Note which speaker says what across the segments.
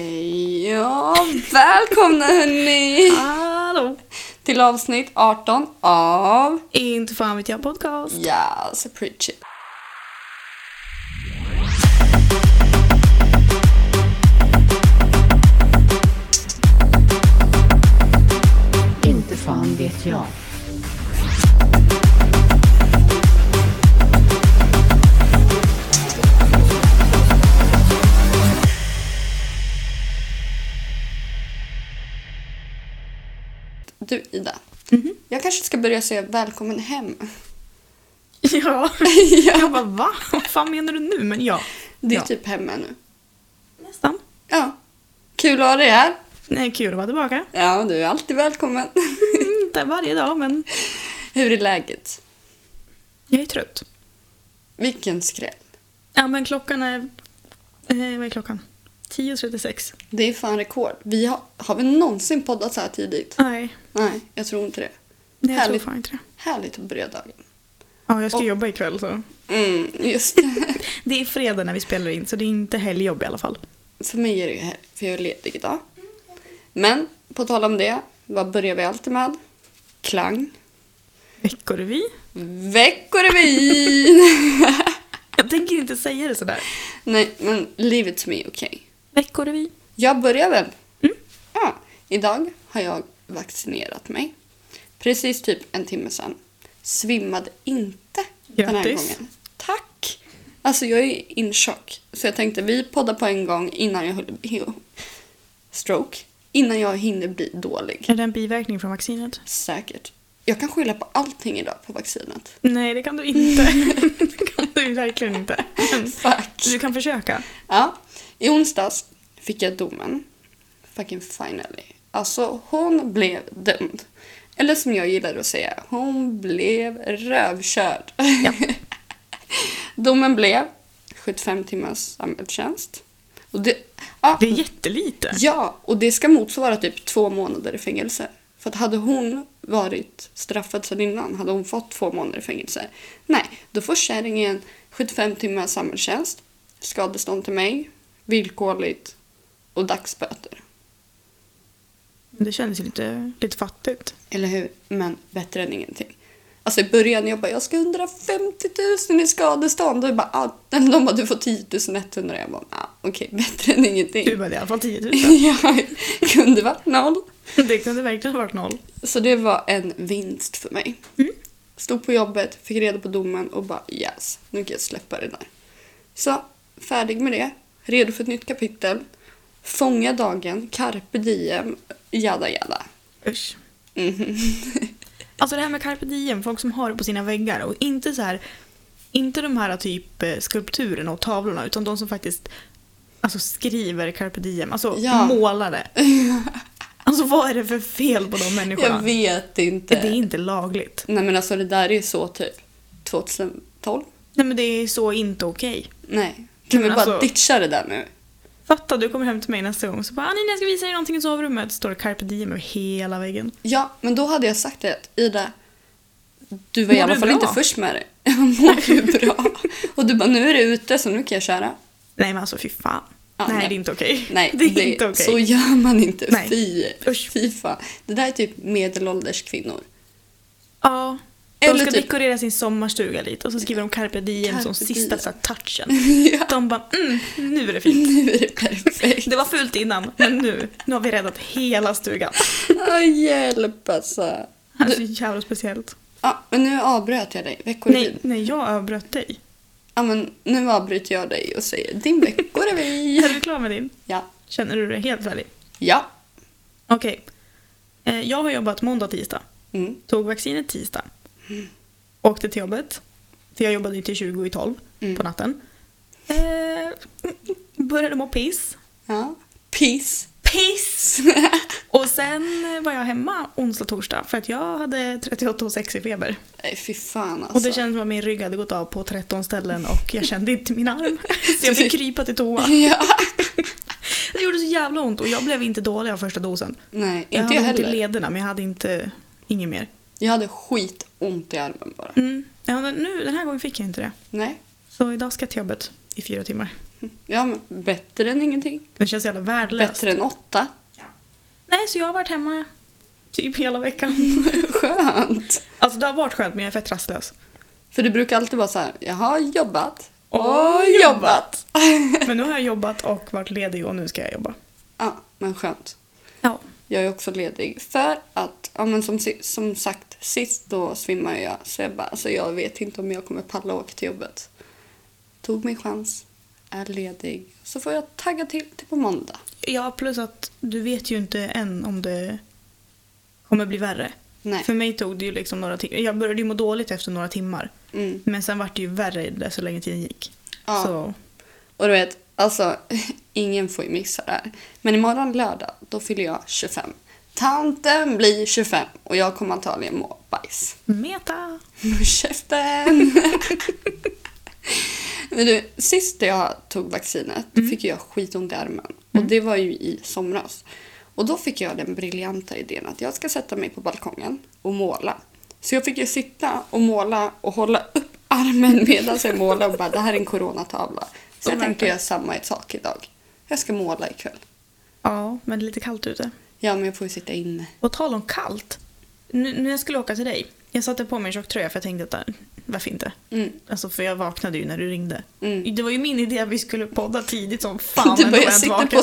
Speaker 1: Hej, ja, välkomna hörni!
Speaker 2: Hallå!
Speaker 1: Till avsnitt 18 av
Speaker 2: Inte fan vet jag podcast.
Speaker 1: Yes, preach it.
Speaker 3: Inte fan vet jag.
Speaker 1: Du Ida, jag kanske ska börja säga välkommen hem.
Speaker 2: Ja.
Speaker 1: ja,
Speaker 2: Jag bara va? Vad fan menar du nu? Men ja.
Speaker 1: det är
Speaker 2: ja.
Speaker 1: typ hemma nu.
Speaker 2: nästan.
Speaker 1: Ja, kul att ha dig här.
Speaker 2: Nej, kul att vara tillbaka.
Speaker 1: Ja, du är alltid välkommen.
Speaker 2: Inte varje dag men
Speaker 1: Hur är läget?
Speaker 2: jag är trött.
Speaker 1: Vilken skräll.
Speaker 2: Ja men klockan är... Eh, vad är klockan? 10.36.
Speaker 1: Det är fan rekord. Vi har, har vi någonsin poddat så här tidigt?
Speaker 2: Nej,
Speaker 1: Nej, jag tror inte det.
Speaker 2: nej jag
Speaker 1: Härligt.
Speaker 2: tror fan inte det.
Speaker 1: Härligt att börja dagen.
Speaker 2: Ja, jag ska
Speaker 1: Och-
Speaker 2: jobba ikväll så.
Speaker 1: Mm, just det.
Speaker 2: Det är fredag när vi spelar in så det är inte helgjobb i alla fall.
Speaker 1: För mig är det ju här, för jag är ledig idag. Men på tal om det, vad börjar vi alltid med? Klang.
Speaker 2: Veckorevy?
Speaker 1: Veckorevyn!
Speaker 2: Jag tänker inte säga det sådär.
Speaker 1: Nej, men leave it to me, okej.
Speaker 2: Veckorevy.
Speaker 1: Jag börjar väl?
Speaker 2: Mm.
Speaker 1: Ja, idag har jag vaccinerat mig. Precis typ en timme sedan. Svimmade inte den här
Speaker 2: Grattis.
Speaker 1: gången. Tack! Alltså jag är in chock. Så jag tänkte vi poddar på en gång innan jag hull- stroke. Innan jag hinner bli dålig.
Speaker 2: Är det en biverkning från vaccinet?
Speaker 1: Säkert. Jag kan skylla på allting idag på vaccinet.
Speaker 2: Nej, det kan du inte. det kan du verkligen inte.
Speaker 1: Fuck!
Speaker 2: Du kan försöka.
Speaker 1: Ja, i onsdags fick jag domen. Fucking finally. Alltså hon blev dömd. Eller som jag gillar att säga, hon blev rövkörd. domen blev 75 timmars samhällstjänst. Och det, ja,
Speaker 2: Det är jättelite.
Speaker 1: ja, och det ska motsvara typ två månader i fängelse. För att hade hon varit straffad sedan innan hade hon fått två månader i fängelse. Nej, då får kärringen 75 timmar samhällstjänst, skadestånd till mig, villkorligt och dagsböter.
Speaker 2: Det kändes ju lite, lite fattigt.
Speaker 1: Eller hur? Men bättre än ingenting. Alltså i början jag bara jag ska 150 000 i skadestånd och jag bara ah, de bara du får 10 100 jag bara ah, okej bättre än ingenting.
Speaker 2: Du bara, det är i alla fall 10 000.
Speaker 1: jag kunde varit noll.
Speaker 2: Det kunde verkligen ha varit noll.
Speaker 1: Så det var en vinst för mig.
Speaker 2: Mm.
Speaker 1: Stod på jobbet, fick reda på domen och bara yes, nu kan jag släppa det där. Så färdig med det, redo för ett nytt kapitel. Fånga dagen, carpe diem, jada jada.
Speaker 2: Usch. alltså det här med carpe diem, folk som har det på sina väggar och inte så här, inte de här typ eh, skulpturerna och tavlorna utan de som faktiskt alltså, skriver carpe diem, alltså
Speaker 1: Ja.
Speaker 2: målar det. Alltså vad är det för fel på de människorna?
Speaker 1: Jag vet inte.
Speaker 2: Det är inte lagligt.
Speaker 1: Nej men alltså det där är så typ 2012.
Speaker 2: Nej men det är så inte okej.
Speaker 1: Nej. Kan vi
Speaker 2: Men
Speaker 1: bara
Speaker 2: alltså-
Speaker 1: ditcha det där nu?
Speaker 2: Fatta, du kommer hem till mig nästa gång så bara Anina jag ska visa dig någonting i sovrummet. Står det carpe diem över hela väggen.
Speaker 1: Ja, men då hade jag sagt det att Ida, du var
Speaker 2: Mår
Speaker 1: i alla
Speaker 2: du
Speaker 1: fall
Speaker 2: bra?
Speaker 1: inte först med det. Jag mår ju bra. Och du bara, nu är det ute så nu kan jag köra.
Speaker 2: Nej men alltså fy fan.
Speaker 1: Ja,
Speaker 2: nej,
Speaker 1: nej.
Speaker 2: det är inte okej.
Speaker 1: Nej,
Speaker 2: det är inte okej.
Speaker 1: så gör man inte.
Speaker 2: Nej.
Speaker 1: Fy.
Speaker 2: Usch.
Speaker 1: Fy fan. Det där är typ medelålders kvinnor.
Speaker 2: Ja.
Speaker 1: Eller
Speaker 2: de ska
Speaker 1: typ-
Speaker 2: dekorera sin sommarstuga lite och så skriver de carpe diem
Speaker 1: Carpe
Speaker 2: som sista
Speaker 1: diem.
Speaker 2: så här, touchen.
Speaker 1: ja,
Speaker 2: De bara mm, nu är det fint.
Speaker 1: nu är det perfekt.
Speaker 2: Det var fult innan men nu, nu har vi räddat hela stugan.
Speaker 1: Åh, hjälp alltså.
Speaker 2: Alltså jävla speciellt.
Speaker 1: Ja, men nu avbröt jag dig.
Speaker 2: Nej,
Speaker 1: Veckorevyn.
Speaker 2: nej, jag avbröt dig.
Speaker 1: Ja, men nu avbryter jag dig och säger din
Speaker 2: Är
Speaker 1: veckorevy.
Speaker 2: du klar med din?
Speaker 1: ja.
Speaker 2: Känner du dig helt färdig?
Speaker 1: Ja.
Speaker 2: Okej. Eh, Jag har jobbat måndag, tisdag.
Speaker 1: Mm.
Speaker 2: Tog vaccinet tisdag. Åkte till jobbet. För jag jobbade ju till 20 i 12
Speaker 1: Mm.
Speaker 2: på natten. Eh, började må piss.
Speaker 1: Ja. Piss.
Speaker 2: Piss! Och sen var jag hemma onsdag och torsdag för att jag hade 38,6 i feber.
Speaker 1: Nej, fy fan alltså.
Speaker 2: Och det kändes som att min rygg hade gått av på 13 ställen och jag kände inte min arm. Så jag fick krypa till toa.
Speaker 1: Ja.
Speaker 2: Det gjorde så jävla ont och jag blev inte dålig av första dosen.
Speaker 1: Nej,
Speaker 2: Jag
Speaker 1: inte jag
Speaker 2: hade ont i
Speaker 1: heller.
Speaker 2: lederna men jag hade inte, inget mer.
Speaker 1: Jag hade skitont i armen bara.
Speaker 2: Mm. Ja, men nu, den här gången fick jag inte det.
Speaker 1: Nej.
Speaker 2: Så idag ska jag till jobbet i fyra timmar.
Speaker 1: Ja, men bättre än ingenting.
Speaker 2: Det känns jävla värdelöst.
Speaker 1: Bättre än åtta.
Speaker 2: Nej, så jag har varit hemma typ hela veckan.
Speaker 1: Skönt!
Speaker 2: Alltså det har varit skönt men jag är fett rastlös.
Speaker 1: För det brukar alltid vara så här, jag har jobbat och
Speaker 2: Och
Speaker 1: jobbat.
Speaker 2: Men nu har jag jobbat och varit ledig och nu ska jag jobba.
Speaker 1: Ja, men skönt.
Speaker 2: Ja.
Speaker 1: Jag är också ledig för att, ja, men som, si- som sagt, sist då svimmade jag så jag bara, alltså jag vet inte om jag kommer palla åka till jobbet. Tog min chans, är ledig, så får jag tagga till till på måndag.
Speaker 2: Ja, plus att du vet ju inte än om det kommer bli värre.
Speaker 1: Nej.
Speaker 2: För mig tog det ju liksom några timmar. Jag började ju må dåligt efter några timmar.
Speaker 1: Mm.
Speaker 2: Men sen vart det ju värre där så länge tiden gick.
Speaker 1: Ja.
Speaker 2: Så,
Speaker 1: Och du vet, alltså ingen får ju missa det här. Men imorgon lördag, då fyller jag 25. Tanten blir 25 och jag kommer antagligen må bajs.
Speaker 2: meta!
Speaker 1: Käften! Men du, sist jag tog vaccinet
Speaker 2: Mm.
Speaker 1: fick jag skitont i armen. Och det var ju i somras. Och då fick jag den briljanta idén att jag ska sätta mig på balkongen och måla. Så jag fick ju sitta och måla och hålla upp armen medan jag målade och bara det här är en coronatavla. Så jag
Speaker 2: Oh,
Speaker 1: tänkte
Speaker 2: verkligen.
Speaker 1: göra samma sak idag. Jag ska måla ikväll.
Speaker 2: Ja, men det är lite kallt ute.
Speaker 1: Ja, men jag får ju sitta inne.
Speaker 2: Och tal om kallt. Nu när jag skulle åka till dig. Jag satte på mig en tjocktröja för jag tänkte att äh, varför inte?
Speaker 1: Mm.
Speaker 2: Alltså för jag vaknade ju när du ringde.
Speaker 1: Mm.
Speaker 2: Det var ju min idé att vi skulle podda tidigt som fan.
Speaker 1: du
Speaker 2: ändå
Speaker 1: bara,
Speaker 2: var
Speaker 1: jag
Speaker 2: inte
Speaker 1: sitter
Speaker 2: vaken.
Speaker 1: på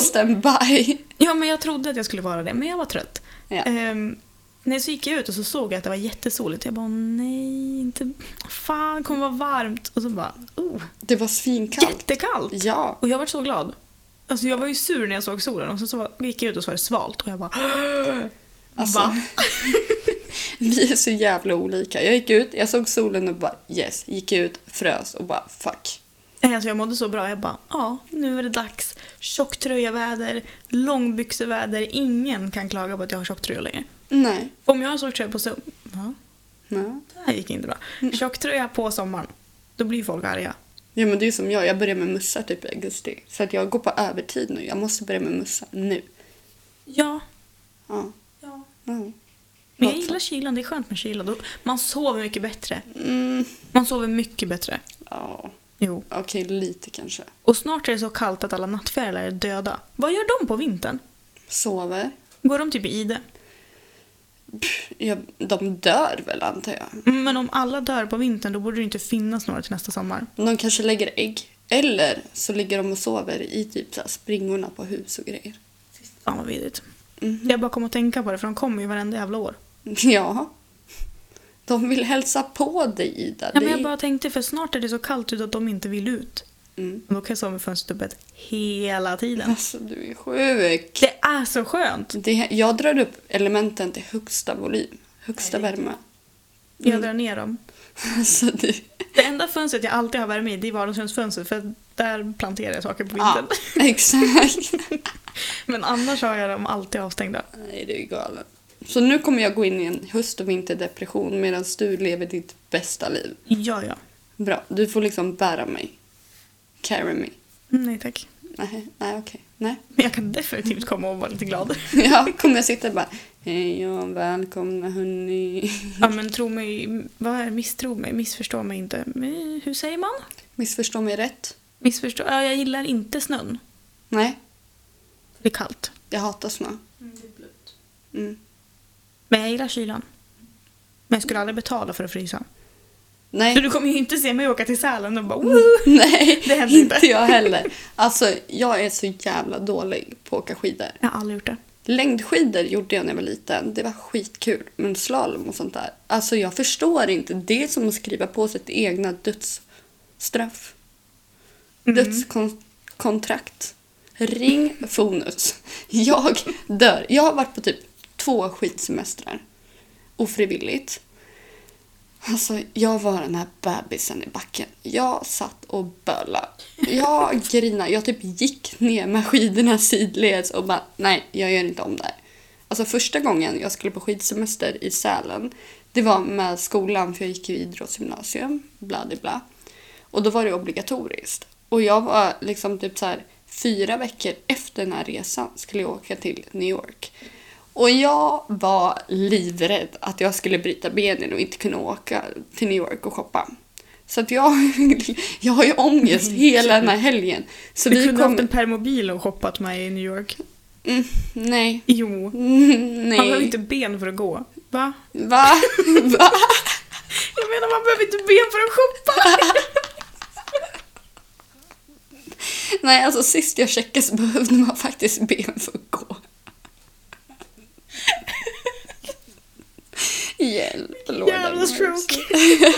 Speaker 1: standby.
Speaker 2: Ja, men jag trodde att jag skulle vara det, men jag var trött.
Speaker 1: Ja.
Speaker 2: Ehm, när så gick jag ut och så såg jag att det var jättesoligt. Jag bara, nej, inte... Fan, det kommer vara varmt. Och så bara, oh,
Speaker 1: Det var svinkallt.
Speaker 2: jättekallt.
Speaker 1: Ja.
Speaker 2: Och jag var så glad. Alltså jag var ju sur när jag såg solen och så, så var- gick jag ut och så var det svalt och jag bara...
Speaker 1: Alltså.
Speaker 2: Va?
Speaker 1: Vi är så jävla olika. Jag gick ut, jag såg solen och bara yes. Gick ut, frös och bara fuck.
Speaker 2: Nej, Alltså jag mådde så bra. Jag bara, ja, nu är det dags. Tjocktröjaväder, långbyxeväder. Ingen kan klaga på att jag har tjocktröja längre.
Speaker 1: Nej.
Speaker 2: Om jag har tjocktröja på sommaren... Ja, Mm.
Speaker 1: Nej.
Speaker 2: det här gick inte bra. Tjocktröja på sommaren, då blir folk arga.
Speaker 1: Ja men det är som jag, jag börjar med mussa typ i augusti. Så att jag går på övertid nu. Jag måste börja med mussa nu.
Speaker 2: Ja.
Speaker 1: Ja.
Speaker 2: ja.
Speaker 1: ja.
Speaker 2: Men jag gillar kylan, det är skönt med kyla. Då- Man sover mycket bättre.
Speaker 1: Mm.
Speaker 2: Man sover mycket bättre.
Speaker 1: Ja.
Speaker 2: Jo.
Speaker 1: Okej, lite kanske.
Speaker 2: Och snart är det så kallt att alla nattfjärilar är döda. Vad gör de på vintern?
Speaker 1: Sover.
Speaker 2: Går de typ i ide?
Speaker 1: Jag, de dör väl antar jag.
Speaker 2: Mm, Men om alla dör på vintern då borde det inte finnas några till nästa sommar.
Speaker 1: De kanske lägger ägg. Eller så ligger de och sover i typ så här springorna på hus och grejer.
Speaker 2: Fan vad vidrigt.
Speaker 1: Mhm.
Speaker 2: Mm. Jag bara kom att tänka på det för de kommer ju varenda jävla år.
Speaker 1: Ja. De vill hälsa på dig, Ida.
Speaker 2: Ja, men
Speaker 1: Det
Speaker 2: jag
Speaker 1: är-
Speaker 2: bara tänkte för snart är det så kallt ut att de inte vill ut.
Speaker 1: mm.
Speaker 2: Och då kan jag sova i fönstertuppet hela tiden.
Speaker 1: Alltså, du är sjuk.
Speaker 2: Det är så skönt!
Speaker 1: Det, jag drar upp elementen till högsta volym, högsta värme.
Speaker 2: Jag drar ner dem.
Speaker 1: Alltså, det,
Speaker 2: Det enda fönstret jag alltid har värme i det är vardagsrumsfönstret för där planterar jag saker på vintern.
Speaker 1: ja, exakt.
Speaker 2: Men annars har jag dem alltid avstängda.
Speaker 1: Nej, det är galet. Så nu kommer jag gå in i en höst och vinterdepression medan du lever ditt bästa liv.
Speaker 2: Ja, ja.
Speaker 1: Bra, du får liksom bära mig. Carry me.
Speaker 2: Mm, Nej tack.
Speaker 1: Nej, nej okej. Nej.
Speaker 2: Men jag kan definitivt komma och vara lite glad.
Speaker 1: Ja, kommer jag sitta och bara hej och välkomna hörni.
Speaker 2: Ja men tro mig, vad är det? misstro mig, missförstå mig inte. Men Hur säger man?
Speaker 1: Missförstå mig rätt.
Speaker 2: Missförstå? Ja, jag gillar inte snön.
Speaker 1: Nej,
Speaker 2: Det är kallt.
Speaker 1: jag hatar snö. Mm.
Speaker 2: Men jag gillar kylan. Men jag skulle aldrig betala för att frysa. Så
Speaker 1: Nej,
Speaker 2: du kommer ju inte se mig åka till Sälen och bara Woo!
Speaker 1: nej,
Speaker 2: Det händer inte.
Speaker 1: inte jag heller. Alltså, jag är så jävla dålig på att åka skidor.
Speaker 2: Jag har aldrig gjort det.
Speaker 1: Längdskidor gjorde jag när jag var liten. Det var skitkul. Men slalom och sånt där. Alltså jag förstår inte. Det är som att skriva på sitt egna dödsstraff. Dödskontrakt. Ring Fonus. Jag dör. Jag har varit på typ två skidsemestrar. Ofrivilligt. Alltså, jag var den här bebisen i backen. Jag satt och böla. Jag grinade. Jag typ gick ner med skidorna sidleds och bara nej, jag gör inte om det här. Alltså första gången jag skulle på skidsemester i Sälen, det var med skolan för jag gick ju idrottsgymnasium, bla bla bla. Och då var det obligatoriskt. Och jag var liksom typ så här fyra veckor efter den här resan skulle jag åka till New York. Och jag var livrädd att jag skulle bryta benen och inte kunna åka till New York och shoppa. Så att jag, jag har ju ångest
Speaker 2: Nej,
Speaker 1: hela
Speaker 2: shit.
Speaker 1: den här helgen. Så
Speaker 2: Mm. du
Speaker 1: vi
Speaker 2: kunde haft
Speaker 1: kommer...
Speaker 2: en permobil och hoppat med i New York.
Speaker 1: Mm, nej.
Speaker 2: Jo.
Speaker 1: Mm, nej.
Speaker 2: Man behöver inte ben för att gå. Va?
Speaker 1: Va? Va?
Speaker 2: Jag menar man behöver inte ben för att shoppa!
Speaker 1: Nej, alltså sist jag checkade så behövde man faktiskt ben för att gå. Hjälp, Lord.
Speaker 2: Jävla stroke.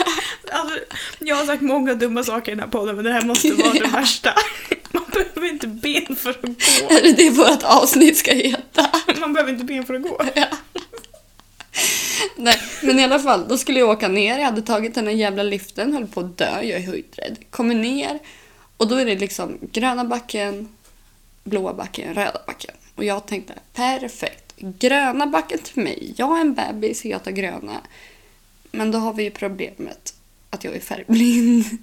Speaker 2: Alltså, jag har sagt många dumma saker i den här podden men det här måste vara det värsta. Man behöver inte ben för att gå.
Speaker 1: Är det det vårt avsnitt ska heta?
Speaker 2: Man behöver inte ben för att gå.
Speaker 1: Nej, men i alla fall, då skulle jag åka ner. Jag hade tagit den här jävla liften, höll på att dö. Jag är höjdrädd. Kommer ner och då är det liksom gröna backen, blåa backen, röda backen. Och jag tänkte perfekt. Gröna backen till mig. Jag är en bebis och jag tar gröna. Men då har vi ju problemet att jag är färgblind.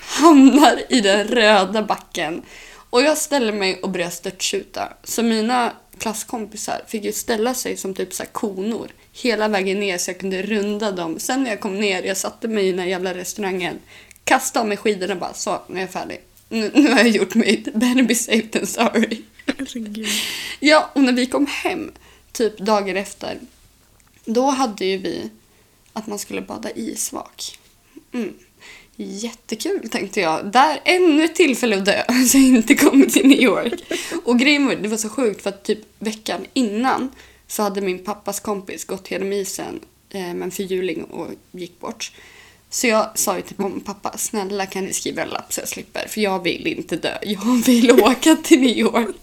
Speaker 1: Hamnar i den röda backen. Och jag ställer mig och börjar störttjuta. Så mina klasskompisar fick ju ställa sig som typ så här konor hela vägen ner så jag kunde runda dem. Sen när jag kom ner, jag satte mig i den här jävla restaurangen, kastade av mig skidorna och bara så, nu är jag färdig. Nu, nu har jag gjort mitt. Better be safe than sorry.
Speaker 2: Alltså, gud.
Speaker 1: Ja, och när vi kom hem, typ dagen efter, då hade ju vi att man skulle bada isvak. Mm. Jättekul tänkte jag. Där ännu ett tillfälle att dö så jag inte kommit till New York. Och grejen var, det var så sjukt för att typ veckan innan så hade min pappas kompis gått genom isen eh, med en fyrhjuling och gick bort. Så jag sa ju till mamma och pappa, snälla kan ni skriva en lapp så jag slipper för jag vill inte dö. Jag vill åka till New York.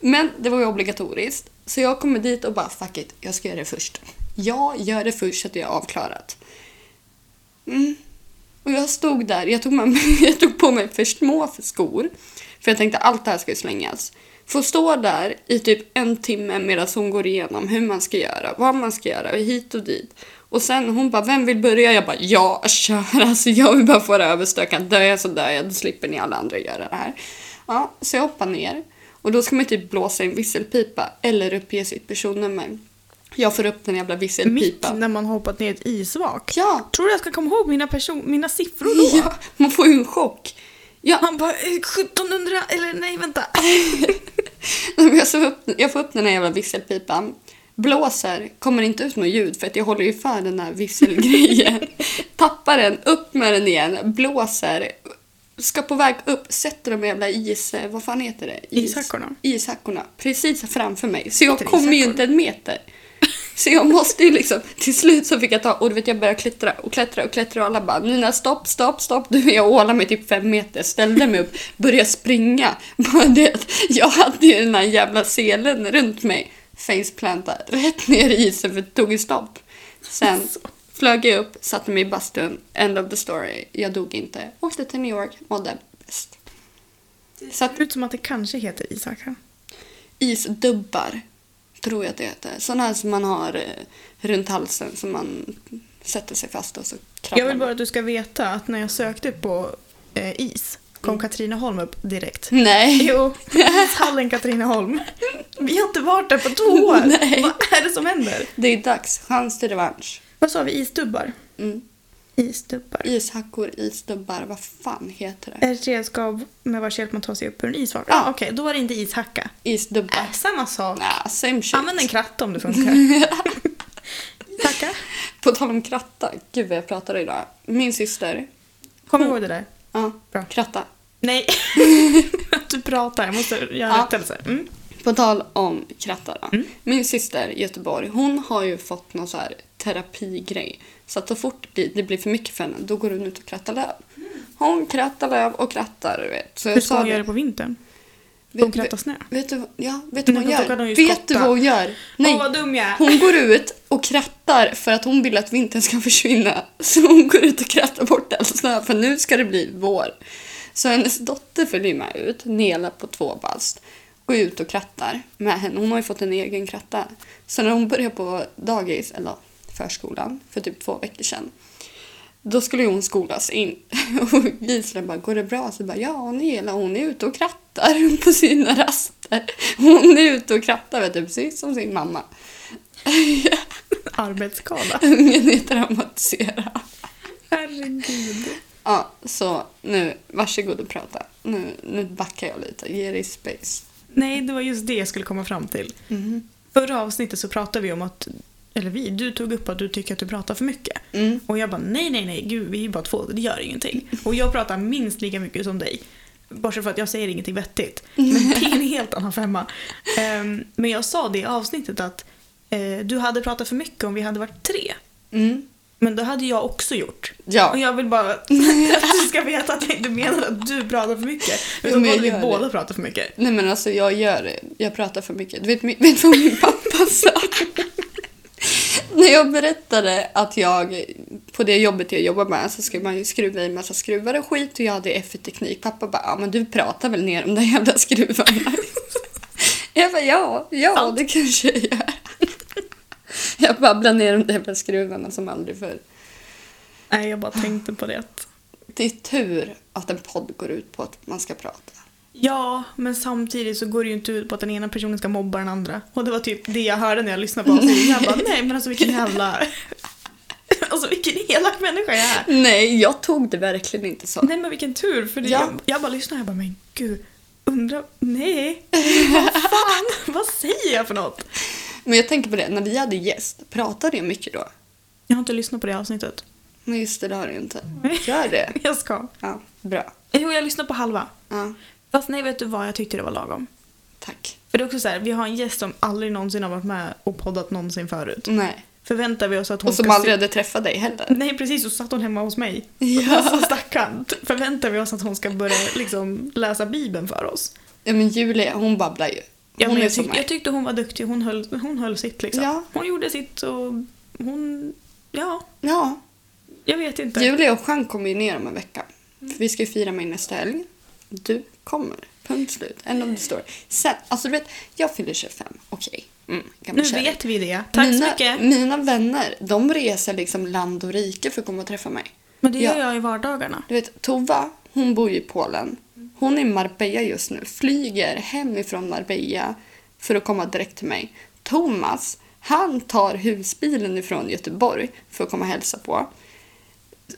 Speaker 1: Men det var ju obligatoriskt. Så jag kommer dit och bara fuck it, jag ska göra det först. Jag gör det först så att jag är avklarat. Mm. Och jag stod där, jag tog, med mig, jag tog på mig för små skor. För jag tänkte allt det här ska ju slängas. Får stå där i typ en timme medan hon går igenom hur man ska göra, vad man ska göra, hit och dit. Och sen hon bara, vem vill börja? Jag bara, jag kör! Alltså jag vill bara få det överstökat. Dör jag så dör jag, då slipper ni alla andra göra det här. Ja, så jag hoppar ner. Och då ska man typ blåsa i en visselpipa eller uppge sitt personnummer. Jag får upp den jävla
Speaker 2: Mitt
Speaker 1: visselpipan.
Speaker 2: när man hoppat ner ett isvak.
Speaker 1: Ja!
Speaker 2: Tror du jag ska komma ihåg mina, person- mina siffror då?
Speaker 1: Ja, man får ju en chock. Ja,
Speaker 2: Han bara eh, 1700 eller nej vänta.
Speaker 1: men jag, såg upp, jag får upp den här jävla visselpipan. Blåser, kommer inte ut något ljud för att jag håller ju för den här visselgrejen. Tappar den, upp med den igen, blåser. Ska på väg upp, sätter de jävla is... eh, Vad fan heter det? Is-
Speaker 2: Ishackorna.
Speaker 1: Ishackorna, precis framför mig. Så jag
Speaker 2: Heter det
Speaker 1: kommer ju
Speaker 2: ishackor?
Speaker 1: inte en meter. Så jag måste ju liksom, till slut så fick jag ta, och du vet jag började klättra och klättra och klättra och alla bara Nina stopp, stopp, stopp. Du, jag ålade mig typ fem meter, ställde mig upp, började springa. Bara det att jag hade ju den här jävla selen runt mig, faceplanta, rätt ner i isen för det tog ju stopp. Sen flög jag upp, satte mig i bastun, end of the story. Jag dog inte, åkte till New York, mådde bäst. Så att
Speaker 2: Det ser ut som att det kanske heter Isak. här.
Speaker 1: isdubbar, tror jag att det heter. Sådana här som man har eh, runt halsen som man sätter sig fast och så
Speaker 2: Jag
Speaker 1: krabblar
Speaker 2: vill
Speaker 1: man.
Speaker 2: bara att du ska veta att när jag sökte på eh, is kom
Speaker 1: Mm.
Speaker 2: Katrineholm upp direkt.
Speaker 1: Nej,
Speaker 2: Jo, ishallen Katrineholm. Vi har inte varit där på två år.
Speaker 1: Nej.
Speaker 2: Vad är det som händer?
Speaker 1: det är dags. Chans till revansch.
Speaker 2: Vad sa vi? Isdubbar?
Speaker 1: Mm.
Speaker 2: Isdubbar.
Speaker 1: Ishackor, isdubbar, vad fan heter det?
Speaker 2: Är ett redskap med vars hjälp man tar sig upp ur en isvak?
Speaker 1: Ja.
Speaker 2: Ja. Okej, då var det inte ishacka.
Speaker 1: Isdubbar.
Speaker 2: Äh, samma sak.
Speaker 1: Nah, same shit.
Speaker 2: Använd en kratta om det funkar. Tacka.
Speaker 1: På tal om kratta, gud vad jag pratar idag. Min syster,
Speaker 2: Kom ihåg det där.
Speaker 1: ja,
Speaker 2: Bra.
Speaker 1: kratta.
Speaker 2: Nej. Att du pratar, jag måste göra
Speaker 1: Ja.
Speaker 2: rättelse. Mm.
Speaker 1: På tal om krattar då. Min syster i Göteborg, hon har ju fått någon så här terapigrej. Så att så fort det, det blir för mycket för henne, då går hon ut och krattar löv. Hon krattar löv och krattar, du vet. Så jag
Speaker 2: Hur ska
Speaker 1: sa
Speaker 2: hon
Speaker 1: det.
Speaker 2: göra det på vintern?
Speaker 1: Vet-
Speaker 2: Hon krattar snö.
Speaker 1: Vet du, ja, vet du vad hon
Speaker 2: Nej, då
Speaker 1: gör?
Speaker 2: kan hon ju
Speaker 1: vet
Speaker 2: skotta.
Speaker 1: du vad hon gör? Nej,
Speaker 2: Åh, vad dum jag är.
Speaker 1: hon går ut och krattar för att hon vill att vintern ska försvinna. Så hon går ut och krattar bort all snö för nu ska det bli vår. Så hennes dotter följer med ut, Nela på två bast, går ut och krattar med henne. Hon har ju fått en egen kratta. Så när hon började på dagis, eller förskolan, för typ två veckor sedan, då skulle ju hon skolas in. Och Gisela bara, går det bra? Så bara, ja, Nela hon är ute och krattar på sina raster. Hon är ute och krattar, vet du, precis som sin mamma.
Speaker 2: Arbetsskada.
Speaker 1: Ungen är traumatiserad.
Speaker 2: Herregud.
Speaker 1: Ja, så nu, varsågod och prata. Nu, nu backar jag lite, ge dig space.
Speaker 2: Nej, det var just det jag skulle komma fram till. Förra avsnittet så pratade vi om att, eller vi, du tog upp att du tycker att du pratar för mycket.
Speaker 1: Mm.
Speaker 2: Och jag bara nej, nej, nej, gud vi är bara två, det gör ingenting. Och jag pratar minst lika mycket som dig. Bortsett från att jag säger ingenting vettigt. Men det är en helt annan femma. Ehm, men jag sa det i avsnittet att eh, du hade pratat för mycket om vi hade varit tre.
Speaker 1: Mm.
Speaker 2: Men det hade jag också gjort.
Speaker 1: Ja.
Speaker 2: Och jag vill bara att du ska veta att jag inte menar att du pratar för mycket. Utan
Speaker 1: men
Speaker 2: bara
Speaker 1: jag
Speaker 2: att vi
Speaker 1: gör det.
Speaker 2: båda pratar för mycket.
Speaker 1: Nej men alltså jag gör det. Jag pratar för mycket. Du vet, min- vet du vad min pappa sa? När jag berättade att jag på det jobbet jag jobbar med så ska man ju skruva i massa skruvar och skit och jag hade FE-teknik. Pappa bara ja men du pratar väl ner om de jävla skruvarna. jag bara ja, ja
Speaker 2: Sant.
Speaker 1: det kanske jag gör. jag babblar ner om de jävla skruvarna som aldrig förr.
Speaker 2: Nej, jag bara tänkte på det. att-
Speaker 1: Det är tur att en podd går ut på att man ska prata.
Speaker 2: Ja, men samtidigt så går det ju inte ut på att den ena personen ska mobba den andra. Och det var typ det jag hörde när jag lyssnade på avsnittet. Jag bara, nej men alltså vilken jävla... Alltså vilken elak människa jag är.
Speaker 1: Nej, jag tog det verkligen inte så.
Speaker 2: Nej men vilken tur, för det,
Speaker 1: Ja.
Speaker 2: jag, jag bara lyssnade och jag bara, men gud. Undrar, nej. Vad fan, vad säger jag för något?
Speaker 1: Men jag tänker på det, när vi hade gäst, pratade jag mycket då?
Speaker 2: Jag har inte lyssnat på det avsnittet.
Speaker 1: Nej just det, det har du inte. Gör det.
Speaker 2: Jag ska.
Speaker 1: Ja, bra.
Speaker 2: Jo, jag lyssnar på halva.
Speaker 1: Ja,
Speaker 2: Fast nej, vet du vad? Jag tyckte det var lagom.
Speaker 1: tack.
Speaker 2: För det är också så här, vi har en gäst som aldrig någonsin har varit med och poddat någonsin förut.
Speaker 1: Nej.
Speaker 2: Förväntar vi oss att hon
Speaker 1: Mm. Och som
Speaker 2: ska
Speaker 1: aldrig
Speaker 2: si-
Speaker 1: hade träffat dig heller.
Speaker 2: Nej precis, och satt hon hemma hos mig.
Speaker 1: Ja.
Speaker 2: Alltså stackarn. Förväntar vi oss att hon ska börja liksom, läsa bibeln för oss?
Speaker 1: Ja, men Julia, hon babblar ju.
Speaker 2: Ja,
Speaker 1: Hon
Speaker 2: men
Speaker 1: är
Speaker 2: jag,
Speaker 1: som
Speaker 2: tyck- jag
Speaker 1: mig.
Speaker 2: tyckte hon var duktig, hon höll, hon höll sitt liksom.
Speaker 1: Ja.
Speaker 2: Hon gjorde sitt och hon... Ja,
Speaker 1: Ja.
Speaker 2: jag vet inte.
Speaker 1: Julia och Jean kommer ju ner om en vecka. För vi ska ju fira mig nästa helg. Du kommer. Punkt slut. End of the story. Sen, alltså du vet, jag fyller 25. Okej. Mm,
Speaker 2: nu
Speaker 1: gammal kärring.
Speaker 2: vet vi det. Tack
Speaker 1: mina,
Speaker 2: så mycket.
Speaker 1: Mina vänner, de reser liksom land och rike för att komma och träffa mig.
Speaker 2: Men det gör
Speaker 1: Ja.
Speaker 2: jag i vardagarna.
Speaker 1: Du vet, Tova, hon bor ju i Polen. Hon är i Marbella just nu. Flyger hemifrån Marbella för att komma direkt till mig. Thomas, han tar husbilen ifrån Göteborg för att komma och hälsa på.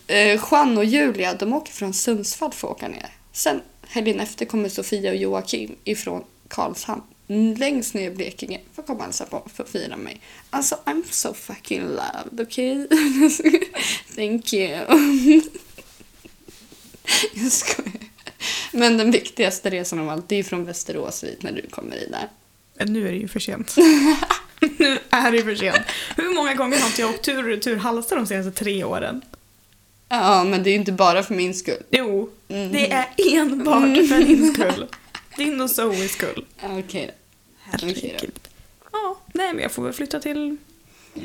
Speaker 1: Eh, Juan och Julia, de åker från Sundsvall för att åka ner. Sen helgen efter kommer Sofia och Joakim ifrån Karlshamn längst ner i Blekinge för att komma och hälsa på för att fira mig. Alltså, I'm so fucking loved, okej? Thank you. Jag skojar. Men den viktigaste resan av allt, det är från Västerås hit när du kommer i där.
Speaker 2: Ja, Eh, Nu är det ju för sent. nu är det ju för sent. Hur många gånger har inte jag åkt tur och retur Halmstad de senaste tre åren?
Speaker 1: Ja, men det är ju inte bara för min skull.
Speaker 2: Jo,
Speaker 1: Mhm.
Speaker 2: det är enbart för din skull. Din och Zoes skull.
Speaker 1: Ja, Okej då. Okej
Speaker 2: Herregud. Ja, nej men jag får väl flytta till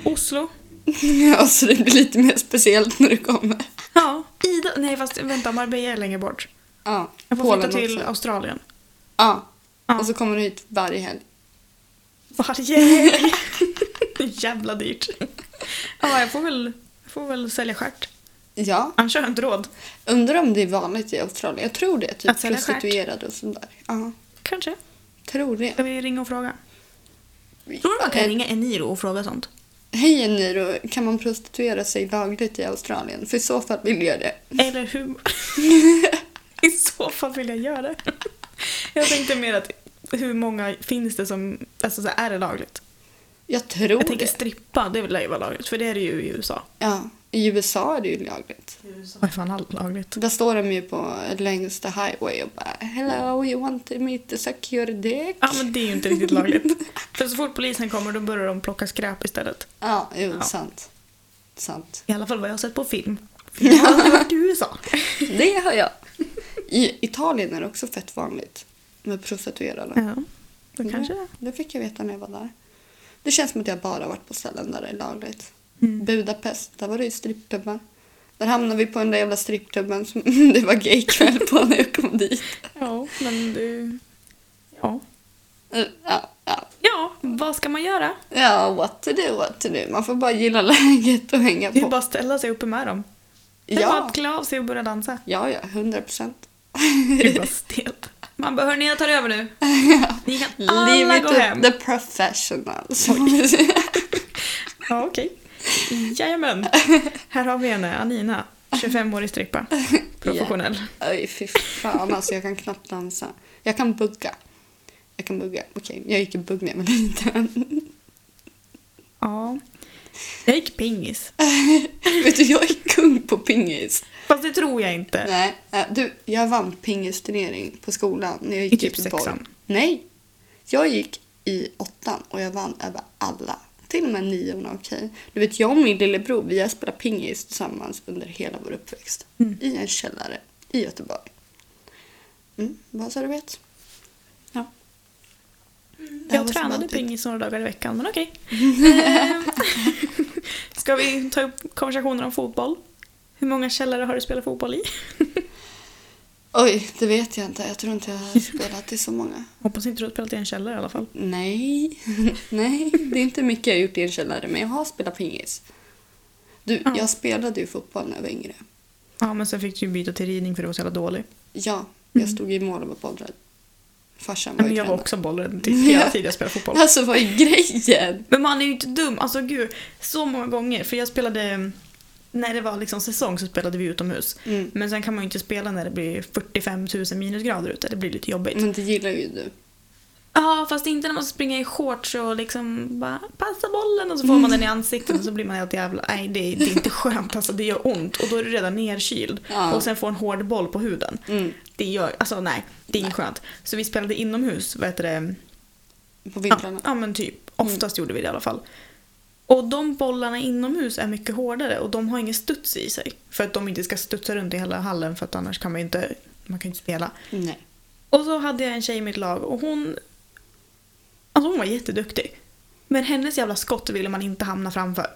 Speaker 2: Oslo.
Speaker 1: Ja, så det blir lite mer speciellt när du kommer.
Speaker 2: Ja, Ida. Nej fast vänta, Marbella är längre bort.
Speaker 1: Ja,
Speaker 2: Jag får
Speaker 1: Polen
Speaker 2: flytta till
Speaker 1: också.
Speaker 2: Australien.
Speaker 1: Ja.
Speaker 2: Ja.
Speaker 1: och så kommer du hit varje helg.
Speaker 2: Varje helg. Jävla dyrt. Ja, jag får väl, jag får väl sälja stjärt.
Speaker 1: Ja,
Speaker 2: Annars har jag inte råd.
Speaker 1: undrar om det är vanligt i Australien. Jag tror det, typ
Speaker 2: Att sälja stjärt?
Speaker 1: prostituerade och sånt där. Ja,
Speaker 2: Kanske.
Speaker 1: tror det. Eh,
Speaker 2: Ska vi ringa och fråga? Eh. Tror du man kan ringa Eniro och fråga sånt?
Speaker 1: Hej Eniro, kan man prostituera sig lagligt i Australien? För i så fall vill jag det.
Speaker 2: Eller hur? I så fall vill jag göra det. Jag tänkte mer att hur många finns det som, alltså så här, är det lagligt?
Speaker 1: Jag tror
Speaker 2: Jag tänker
Speaker 1: det.
Speaker 2: strippa, det lär ju vara lagligt för det är det ju i USA.
Speaker 1: Ja, i USA är det ju lagligt.
Speaker 2: Vad är fan allt lagligt?
Speaker 1: Där står de ju på längs the highway och bara Hello, you want me to suck your dick?
Speaker 2: Ja men det är ju inte riktigt lagligt. För så fort polisen kommer då börjar de plocka skräp istället.
Speaker 1: Ja, jo,
Speaker 2: Ja.
Speaker 1: sant. Sant.
Speaker 2: I alla fall vad jag har sett på film. Jag har aldrig varit i USA.
Speaker 1: Det har jag. I Italien är det också fett vanligt med prostituerade. Mm.
Speaker 2: Ja, då kanske det.
Speaker 1: Det fick jag veta när jag var där. Det känns som att jag bara varit på ställen där det är lagligt.
Speaker 2: Mm.
Speaker 1: Budapest, där var det ju strippklubbar. Där hamnade vi på den där jävla strippklubben som det var gaykväll på när jag kom dit.
Speaker 2: Ja, men det... Ja.
Speaker 1: Eh, Ja, ja.
Speaker 2: Ja, vad ska man göra?
Speaker 1: ja, what to do, what to do. Man får bara gilla läget och hänga
Speaker 2: Det är ju
Speaker 1: på.
Speaker 2: bara att ställa sig uppe med dem. Det är bara
Speaker 1: Ja,
Speaker 2: att klä av sig och börja dansa.
Speaker 1: ja, ja, hundra procent.
Speaker 2: Gud vad stelt. Man bara, hörni jag tar över nu. Ni kan
Speaker 1: Leave
Speaker 2: alla
Speaker 1: it
Speaker 2: gå
Speaker 1: to
Speaker 2: hem.
Speaker 1: the professionals.
Speaker 2: Ja, okej. Jajamän. Här har vi henne, Anina. 25-årig strippa. Professionell.
Speaker 1: Oj, fy fan alltså. Jag kan knappt dansa. Jag kan bugga. Jag kan bugga. Okej, jag gick i bugg när jag var liten.
Speaker 2: Ja. Jag gick pingis.
Speaker 1: Vet du, jag är kung på pingis.
Speaker 2: Fast det tror jag inte.
Speaker 1: Nej, eh, du, jag vann pingisturnering på skolan när jag gick
Speaker 2: I typ
Speaker 1: Göteborg.
Speaker 2: sexan?
Speaker 1: Nej. Jag gick i åttan och jag vann över alla. Till och med niorna, okej. Du vet, jag och min lillebror, vi har spelat pingis tillsammans under hela vår uppväxt.
Speaker 2: Mm.
Speaker 1: I en källare i Göteborg. Mm, bara så du Mm. vet. Ja. Det här
Speaker 2: Jag
Speaker 1: var som
Speaker 2: tränade
Speaker 1: alltid.
Speaker 2: pingis några dagar i veckan, men okej. Ehm, Ska vi ta upp konversationer om fotboll? Hur många källare har du spelat fotboll i?
Speaker 1: Oj, det vet jag inte. Jag tror inte jag har spelat i så många.
Speaker 2: Hoppas inte du har spelat i en källare i alla fall.
Speaker 1: Nej, nej, det är inte mycket jag har gjort i en källare, men jag har spelat pingis. Du,
Speaker 2: Ja.
Speaker 1: jag spelade ju fotboll när jag var yngre.
Speaker 2: Ja, men sen fick du ju byta till ridning för du var så jävla dålig.
Speaker 1: Ja, jag stod i mål och var bollrädd. Farsan var
Speaker 2: Nej,
Speaker 1: ju
Speaker 2: Mm. men jag var
Speaker 1: tränare.
Speaker 2: också bollrädd typ hela tiden jag spelade fotboll.
Speaker 1: Alltså vad är grejen?
Speaker 2: Men man är ju inte dum. Alltså gud, så många gånger. För jag spelade, mm, när det var liksom säsong så spelade vi utomhus.
Speaker 1: Mm.
Speaker 2: Men sen kan man ju inte spela när det blir 45 000 minusgrader ute. Det blir lite jobbigt.
Speaker 1: Men det gillar ju du.
Speaker 2: Ja, fast inte när man springer i shorts och liksom bara passa bollen och så får man den i ansiktet och så blir man helt jävla... Nej, det är, det är inte skönt alltså. Det gör ont och då är du redan nerkyld.
Speaker 1: Ja.
Speaker 2: Och sen får en hård boll på huden.
Speaker 1: Mm.
Speaker 2: Det gör... Alltså nej, det är inget skönt. Så vi spelade inomhus, vad heter det?
Speaker 1: På
Speaker 2: Ja,
Speaker 1: vintrarna.
Speaker 2: ja men typ. Oftast gjorde vi det i alla fall. Och de bollarna inomhus är mycket hårdare och de har ingen studs i sig. För att de inte ska studsa runt i hela hallen för att annars kan man ju inte, man kan ju inte spela.
Speaker 1: Nej.
Speaker 2: Och så hade jag en tjej i mitt lag och hon... Alltså hon var jätteduktig. Men hennes jävla skott ville man inte hamna framför.